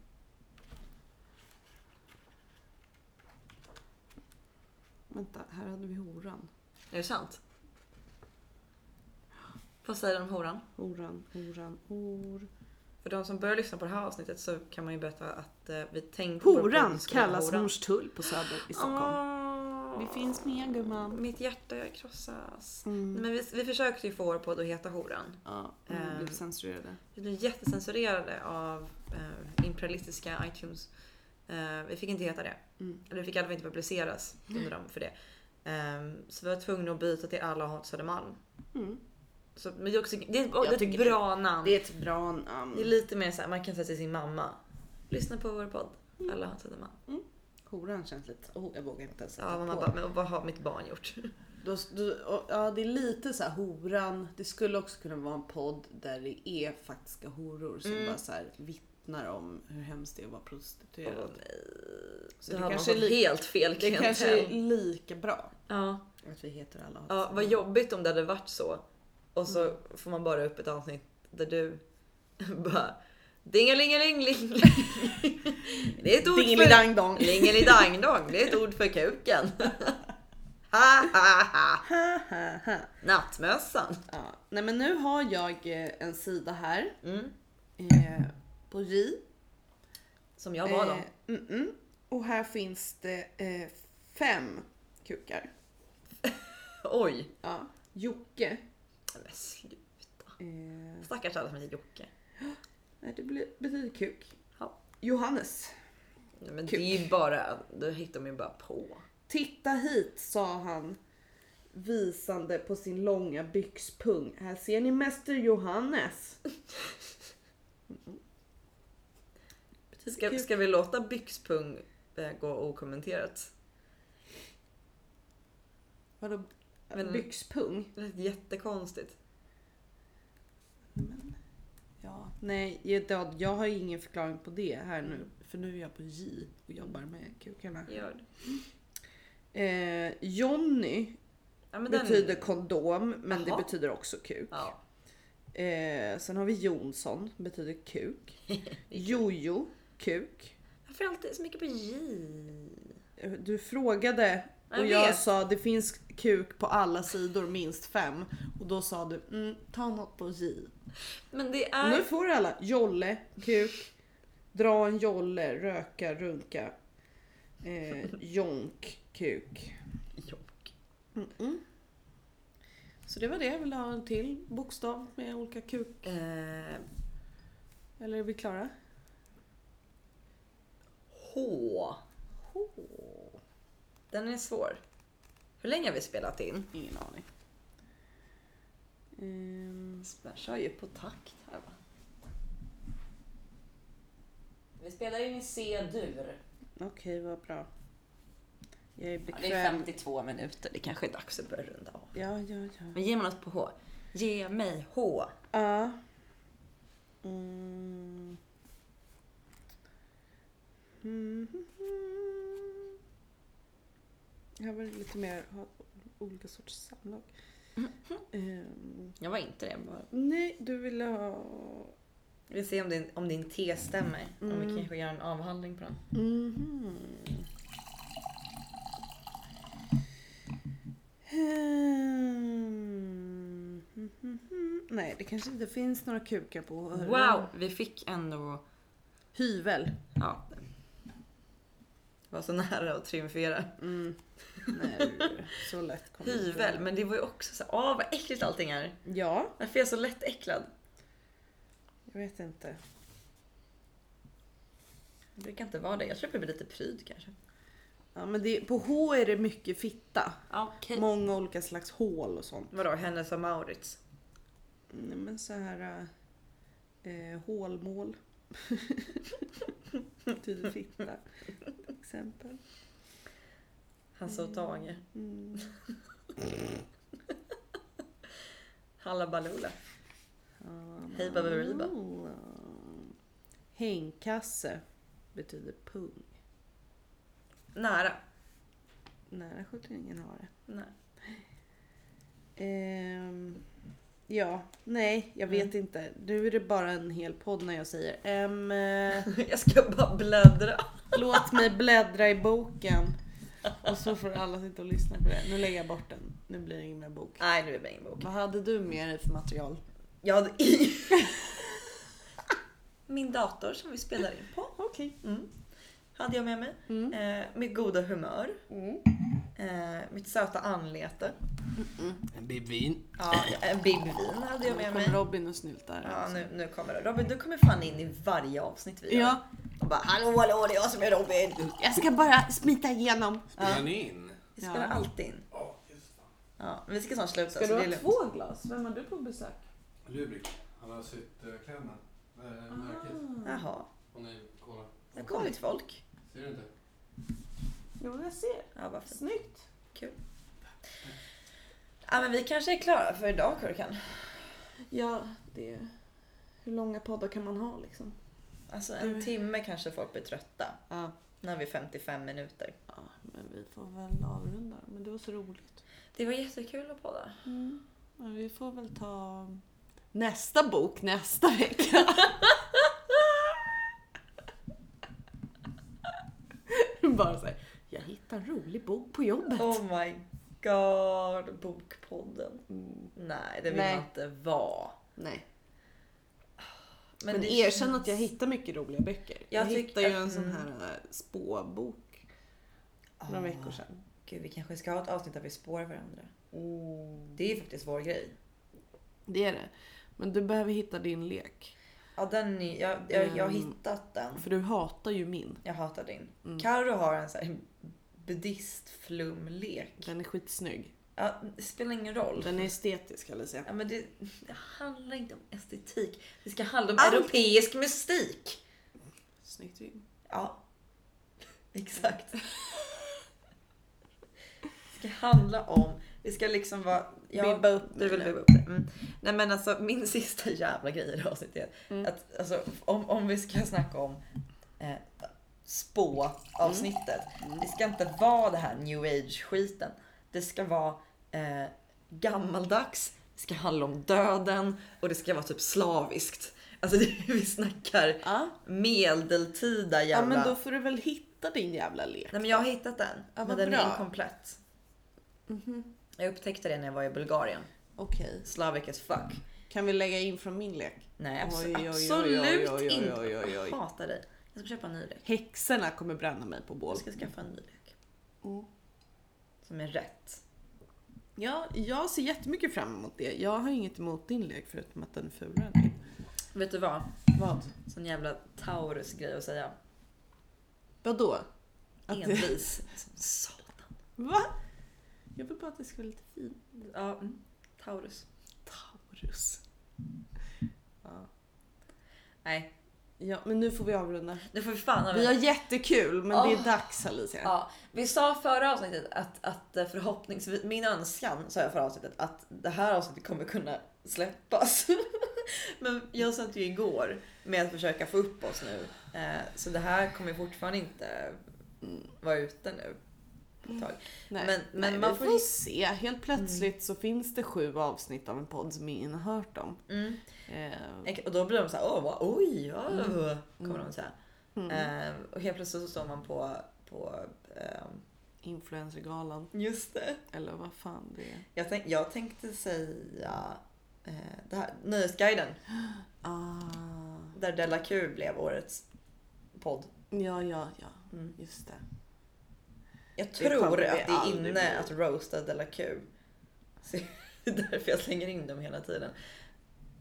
Speaker 2: Vänta, här hade vi horan.
Speaker 1: Är det sant? Vad säger den om horan?
Speaker 2: Horan, horan, hor.
Speaker 1: För de som börjar lyssna på det här avsnittet så kan man ju berätta att eh, vi tänkte... på det
Speaker 2: Horan
Speaker 1: vi skulle ha
Speaker 2: kallas
Speaker 1: horan.
Speaker 2: Hornstull på Söder i Stockholm.
Speaker 1: Åh.
Speaker 2: Vi finns med gumman.
Speaker 1: Mitt hjärta krossas. Nej,
Speaker 2: Mm.
Speaker 1: Men vi, vi försökte ju få vår podd att heta Horan.
Speaker 2: Ja, men vi blev
Speaker 1: Ehm.
Speaker 2: censurerade.
Speaker 1: Vi blev jättecensurerade av eh, imperialistiska iTunes. Eh, Eh, vi fick inte heta det.
Speaker 2: Mm.
Speaker 1: Eller vi fick i alla fall inte publiceras under dem för det. Eh, så vi var tvungna att byta till Alla hat Södermalm.
Speaker 2: Mm.
Speaker 1: Så, men det är också det är, och det är ett
Speaker 2: tycker
Speaker 1: bra namn.
Speaker 2: Det är ett bra namn.
Speaker 1: Det är lite mer såhär, man kan säga till sin mamma. Lyssna på vår podd.
Speaker 2: Mm.
Speaker 1: Alla har sett mamma.
Speaker 2: Horan känns lite... Oh, jag vågar inte ens
Speaker 1: Ja,
Speaker 2: sätta
Speaker 1: mamma
Speaker 2: på.
Speaker 1: bara, men vad har mitt barn gjort?
Speaker 2: Då, då, och, ja, det är lite så här horan. Det skulle också kunna vara en podd där det är faktiska horor som
Speaker 1: Mm.
Speaker 2: bara så här vittnar om hur hemskt det är att vara prostituerad.
Speaker 1: Åh, nej.
Speaker 2: så
Speaker 1: Då
Speaker 2: det
Speaker 1: har man
Speaker 2: kanske, är
Speaker 1: fått
Speaker 2: li-
Speaker 1: helt fel
Speaker 2: det
Speaker 1: klientell.
Speaker 2: kanske är lika bra
Speaker 1: Ja.
Speaker 2: att vi heter alla
Speaker 1: ja, vad jobbigt om det hade varit så. Och så
Speaker 2: Mm.
Speaker 1: får man bara upp ett avsnitt där du bara Dingelingeling Det är ett ord för...
Speaker 2: Dingelidangdong.
Speaker 1: Lingelidangdong, det är ett ord för kuken. ha, ha, ha. Nattmössan.
Speaker 2: Ja. Nej men nu har jag eh, en sida här
Speaker 1: Mm.
Speaker 2: eh, på J.
Speaker 1: Som jag var då.
Speaker 2: Eh, mm, mm. Och här finns det eh, fem kukar.
Speaker 1: Oj.
Speaker 2: Ja. Jocke.
Speaker 1: Men sluta.
Speaker 2: Eh,
Speaker 1: Stackars alla som heter Jocke.
Speaker 2: nej, det blir- betyder kuk.
Speaker 1: Ja.
Speaker 2: Johannes.
Speaker 1: Nej, men
Speaker 2: Kuk.
Speaker 1: det är ju bara, då hittar man ju bara på.
Speaker 2: Titta hit, sa han visande på sin långa byxpung. Här ser ni mäster Johannes.
Speaker 1: Ska, ska vi låta byxpung eh, gå okommenterat?
Speaker 2: Vadå
Speaker 1: Men-
Speaker 2: byxpung?
Speaker 1: Det lät jättekonstigt.
Speaker 2: Ja. Nej, jag, jag har ingen förklaring på det här nu. För nu är jag på J och jobbar med kukarna.
Speaker 1: Gör det.
Speaker 2: Eh, Jonny
Speaker 1: Ja, men den-
Speaker 2: betyder kondom, men
Speaker 1: Jaha.
Speaker 2: det betyder också kuk.
Speaker 1: Ja.
Speaker 2: Eh, sen har vi Jonsson, betyder kuk. Jojo, kuk. Eh,
Speaker 1: Varför alltid så mycket på J?
Speaker 2: Du frågade och
Speaker 1: Jag
Speaker 2: jag,
Speaker 1: vet.
Speaker 2: sa det finns kuk på alla sidor, minst fem. Och då sa du mm, ta något på J.
Speaker 1: Men det
Speaker 2: Och nu
Speaker 1: är...
Speaker 2: får alla jolle, kuk, dra en jolle, röka, runka, eh, jonk, kuk.
Speaker 1: Jonk.
Speaker 2: Mm-mm. Så det var det, jag ville ha en till bokstav med olika kuk.
Speaker 1: Eh,
Speaker 2: Eller är vi klara?
Speaker 1: H.
Speaker 2: H.
Speaker 1: Den är svår. Hur länge har vi spelat in?
Speaker 2: Ingen aning. Ehm,
Speaker 1: Jag kör ju på takt här va? Vi spelar in i C-dur.
Speaker 2: Okej, vad bra. Jag är
Speaker 1: Ja,
Speaker 2: bekväm.
Speaker 1: det är 52 minuter, det kanske är dags att börja runda av.
Speaker 2: Ja, ja, ja.
Speaker 1: Men ge mig något på H. Ge mig H.
Speaker 2: Ja. Mm. Mm. Här var det lite mer ha olika sorters samlag.
Speaker 1: Mhm.
Speaker 2: Ehm,
Speaker 1: Jag var inte det. Bara.
Speaker 2: nej, du ville ha...
Speaker 1: Vi ser om din, om din T stämmer. Om vi kanske gör en avhandling på den.
Speaker 2: Mhm. Ehm, mhm. Nej, det kanske inte finns några kukar på öronen.
Speaker 1: Wow, vi fick ändå...
Speaker 2: Hyvel.
Speaker 1: Ja. Det var så nära att triumfera.
Speaker 2: Mm. Nej, så lätt kommer det inte
Speaker 1: Hyvel,
Speaker 2: vara.
Speaker 1: men det var ju också så åh vad äckligt allting är.
Speaker 2: Ja,
Speaker 1: Varför är jag så lättäcklad?
Speaker 2: jag vet inte.
Speaker 1: Jag brukar inte vara det. Jag tror att jag blir lite pryd kanske.
Speaker 2: Ja, men det, på H är det mycket fitta.
Speaker 1: Okej.
Speaker 2: Många olika slags hål och sånt.
Speaker 1: Vadå, Hennes och Maurits?
Speaker 2: Nej, men så här... äh, Eh, hålmål. Betyder fitta. Till exempel.
Speaker 1: Hasse och Tage?
Speaker 2: Mm.
Speaker 1: Hallabaloola?
Speaker 2: Ja,
Speaker 1: Hej, Baberiba.
Speaker 2: Ah. Hängkasse betyder pung.
Speaker 1: Nära?
Speaker 2: Nära sjuttoningen har det.
Speaker 1: Nej.
Speaker 2: Ehm, ja, nej, jag vet inte. Nu är det bara en hel podd när jag säger ehm, eh,
Speaker 1: Jag ska bara bläddra.
Speaker 2: låt mig bläddra i boken. Och så får alla sitta och lyssna på det. Nu lägger jag bort den. Nu blir det ingen mer bok.
Speaker 1: Nej, nu är det ingen bok.
Speaker 2: Vad hade du med dig för material?
Speaker 1: Jag hade Min dator som vi spelar in på.
Speaker 2: Okej.
Speaker 1: Mm. Hade jag med
Speaker 2: Mm.
Speaker 1: mig. Eh, mitt goda humör. Eh, mitt söta anlete.
Speaker 4: En bib vin.
Speaker 1: Ja, en bibbvin hade jag med
Speaker 2: Nu
Speaker 1: mig.
Speaker 2: kom Robin och snyltar.
Speaker 1: Ja, nu, nu kommer det. Robin, du kommer fan in i varje avsnitt vi gör.
Speaker 2: Ja.
Speaker 1: Och bara hallå, hallå, det är jag som är Robin.
Speaker 2: Jag ska bara smita igenom.
Speaker 4: Spelar ni in?
Speaker 1: Vi spelar
Speaker 2: Ja.
Speaker 1: alltid in. Ja, men vi ska snart sluta.
Speaker 2: Ska
Speaker 1: så
Speaker 2: du
Speaker 1: det är
Speaker 2: ha
Speaker 1: lugnt.
Speaker 2: två glas? Vem har du på besök?
Speaker 4: Lubrik. Han har sytt eh, kläderna.
Speaker 2: Ah.
Speaker 4: Eh, Märket.
Speaker 1: Jaha,
Speaker 4: Hon är kola.
Speaker 1: det har kommit folk.
Speaker 4: Ser du inte?
Speaker 2: Jo, jag ser.
Speaker 1: Ja, vad fint.
Speaker 2: Snyggt.
Speaker 1: Ja, men vi kanske är klara för idag, Kurkan.
Speaker 2: Ja, det är... Hur långa poddar kan man ha liksom?
Speaker 1: Alltså en
Speaker 2: Du-
Speaker 1: timme kanske folk blir trötta.
Speaker 2: Mm. Ja.
Speaker 1: När vi är 55 minuter.
Speaker 2: ja, men vi får väl avrunda. Men det var så roligt.
Speaker 1: Det var jättekul att podda.
Speaker 2: Mm. Men vi får väl ta nästa bok nästa vecka. Bara så här, jag hittade en rolig bok på jobbet.
Speaker 1: Oh my god, Bokpodden.
Speaker 2: Mm,
Speaker 1: Nej, det vill
Speaker 2: Nej.
Speaker 1: man inte vara.
Speaker 2: nej,
Speaker 1: Men,
Speaker 2: men,
Speaker 1: det
Speaker 2: erkänn
Speaker 1: känns-
Speaker 2: att jag hittar mycket roliga böcker.
Speaker 1: Jag
Speaker 2: Jag,
Speaker 1: tycker-
Speaker 2: hittade ju en
Speaker 1: mm.
Speaker 2: sån här äh, spåbok för några
Speaker 1: Ah.
Speaker 2: veckor sedan.
Speaker 1: Gud, vi kanske ska ha ett avsnitt där vi spårar varandra.
Speaker 2: Mm.
Speaker 1: Det är ju faktiskt vår grej.
Speaker 2: Det är det. Men du behöver hitta din lek.
Speaker 1: Ja, den är, jag, jag, jag har
Speaker 2: Mm.
Speaker 1: hittat den.
Speaker 2: För du hatar ju min.
Speaker 1: Jag hatar din.
Speaker 2: Mm.
Speaker 1: Karo har en sån här buddhistflumlek.
Speaker 2: Den är skitsnygg.
Speaker 1: Ja, det spelar ingen roll.
Speaker 2: Den är estetisk Alicia.
Speaker 1: Ja, men det, det handlar inte om estetik. Det ska handla om
Speaker 2: Allt-
Speaker 1: europeisk mystik.
Speaker 2: Snyggt rim.
Speaker 1: Ja, exakt. Det ska handla om... Det ska liksom vara... Ja,
Speaker 2: Bibba upp
Speaker 1: du vill
Speaker 2: det.
Speaker 1: bibba upp det. Mm. Nej men alltså min sista jävla grej i det här avsnittet är
Speaker 2: Mm.
Speaker 1: att alltså, om, om vi ska snacka om eh, spå-avsnittet. Det ska inte vara det här new age-skiten. Det ska vara eh, gammaldags, det ska handla om döden och det ska vara typ slaviskt. Alltså det, vi snackar
Speaker 2: Ja.
Speaker 1: medeltida
Speaker 2: ja,
Speaker 1: jävla...
Speaker 2: men då får du väl hitta din jävla lek.
Speaker 1: Nej men jag har hittat den.
Speaker 2: Ja,
Speaker 1: men
Speaker 2: vad
Speaker 1: den är
Speaker 2: bra. Mhm.
Speaker 1: inkomplett. Jag upptäckte det när jag var i Bulgarien.
Speaker 2: Okej.
Speaker 1: Slavic as fuck.
Speaker 2: Kan vi lägga in från min lek?
Speaker 1: Nej abs-
Speaker 2: Oj, oj, oj,
Speaker 1: absolut
Speaker 2: oj, oj,
Speaker 1: inte.
Speaker 2: oj, oj, oj.
Speaker 1: Jag hatar dig. Jag ska köpa en ny lek.
Speaker 2: Häxorna kommer bränna mig på bål.
Speaker 1: Jag ska skaffa en ny lek.
Speaker 2: Mm.
Speaker 1: Som är rätt.
Speaker 2: Ja, jag ser jättemycket fram emot det. Jag har inget emot din lek förutom att den är fulare än din.
Speaker 1: Vet du vad?
Speaker 2: Vad?
Speaker 1: Sån jävla Taurus grej att säga.
Speaker 2: Vadå? Att det...
Speaker 1: Envis. Som satan.
Speaker 2: Va? Jag vill bara att det ska vara lite fint.
Speaker 1: Ja, mm. Taurus.
Speaker 2: Taurus. Ja.
Speaker 1: Nej,
Speaker 2: ja, men nu får vi avrunda.
Speaker 1: nu får vi fan av
Speaker 2: Vi har jättekul, men det är
Speaker 1: Åh.
Speaker 2: dags Alicia.
Speaker 1: Ja, vi sa förra avsnittet att, att förhoppningsvis, min önskan sa jag förra avsnittet att det här avsnittet kommer kunna släppas. Men jag satt ju igår med att försöka få upp oss nu. Eh, Så det här kommer fortfarande inte vara ute nu. På ett tag.
Speaker 2: Nej,
Speaker 1: Men- men
Speaker 2: nej,
Speaker 1: man
Speaker 2: vi
Speaker 1: får
Speaker 2: får,
Speaker 1: ju- Mm.
Speaker 2: se. Helt plötsligt så finns det sju avsnitt av en podd som ingen har hört om.
Speaker 1: Mm.
Speaker 2: Eh,
Speaker 1: Och då blir de så här, åh, vad, oj, ja, kommer de säga.
Speaker 2: Mm.
Speaker 1: Eh, Och helt plötsligt så står man på, på ehm,
Speaker 2: Influencergalan,
Speaker 1: just det.
Speaker 2: eller vad fan det är.
Speaker 1: Jag, tänk, jag tänkte säga eh, det här, Nöjesguiden.
Speaker 2: Ah,
Speaker 1: Där Della Q blev årets podd.
Speaker 2: ja, ja, ja.
Speaker 1: Mm.
Speaker 2: Just det.
Speaker 1: Jag
Speaker 2: Det kommer
Speaker 1: tror
Speaker 2: vi
Speaker 1: att det är
Speaker 2: aldrig
Speaker 1: inne
Speaker 2: bli.
Speaker 1: att roasta Della Q. Så det är därför jag slänger in dem hela tiden.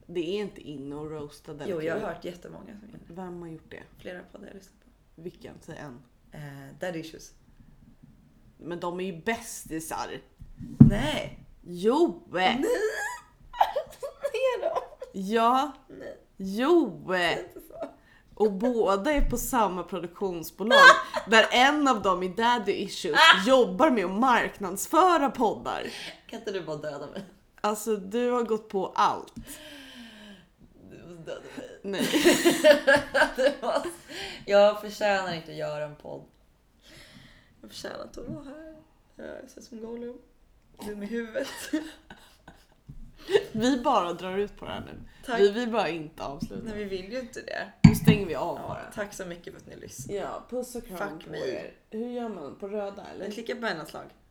Speaker 2: Det är inte inne och roasta den.
Speaker 1: Jo, jag har hört jättemånga som gör det.
Speaker 2: Vem har gjort det?
Speaker 1: Flera poddar jag lyssnar på.
Speaker 2: Vilken? Säg en.
Speaker 1: Eh, Daddy Issues.
Speaker 2: Men de är ju bästisar.
Speaker 1: Nej!
Speaker 2: Jo!
Speaker 1: Nej! Nej då!
Speaker 2: Ja,
Speaker 1: Nej,
Speaker 2: jo!
Speaker 1: det är inte så.
Speaker 2: Och båda är på samma produktionsbolag där en av dem i Daddy Issues jobbar med att marknadsföra poddar.
Speaker 1: Kan inte du bara döda mig?
Speaker 2: Alltså du har gått på allt.
Speaker 1: Du måste döda mig.
Speaker 2: Nej.
Speaker 1: Du måste... Jag förtjänar inte att göra en podd. Jag förtjänar inte att vara här. Jag ser ut som Gollum. Dum i huvudet.
Speaker 2: Vi bara drar ut på det här nu.
Speaker 1: Tack.
Speaker 2: Vi vill bara inte avsluta.
Speaker 1: Nej, vi vill ju inte det.
Speaker 2: Nu stänger vi av
Speaker 1: Ja,
Speaker 2: bara.
Speaker 1: tack så mycket för att ni lyssnade.
Speaker 2: Ja, puss och
Speaker 1: kram Fuck på me. er.
Speaker 2: Hur gör man? På röda eller?
Speaker 1: Klicka på en slag.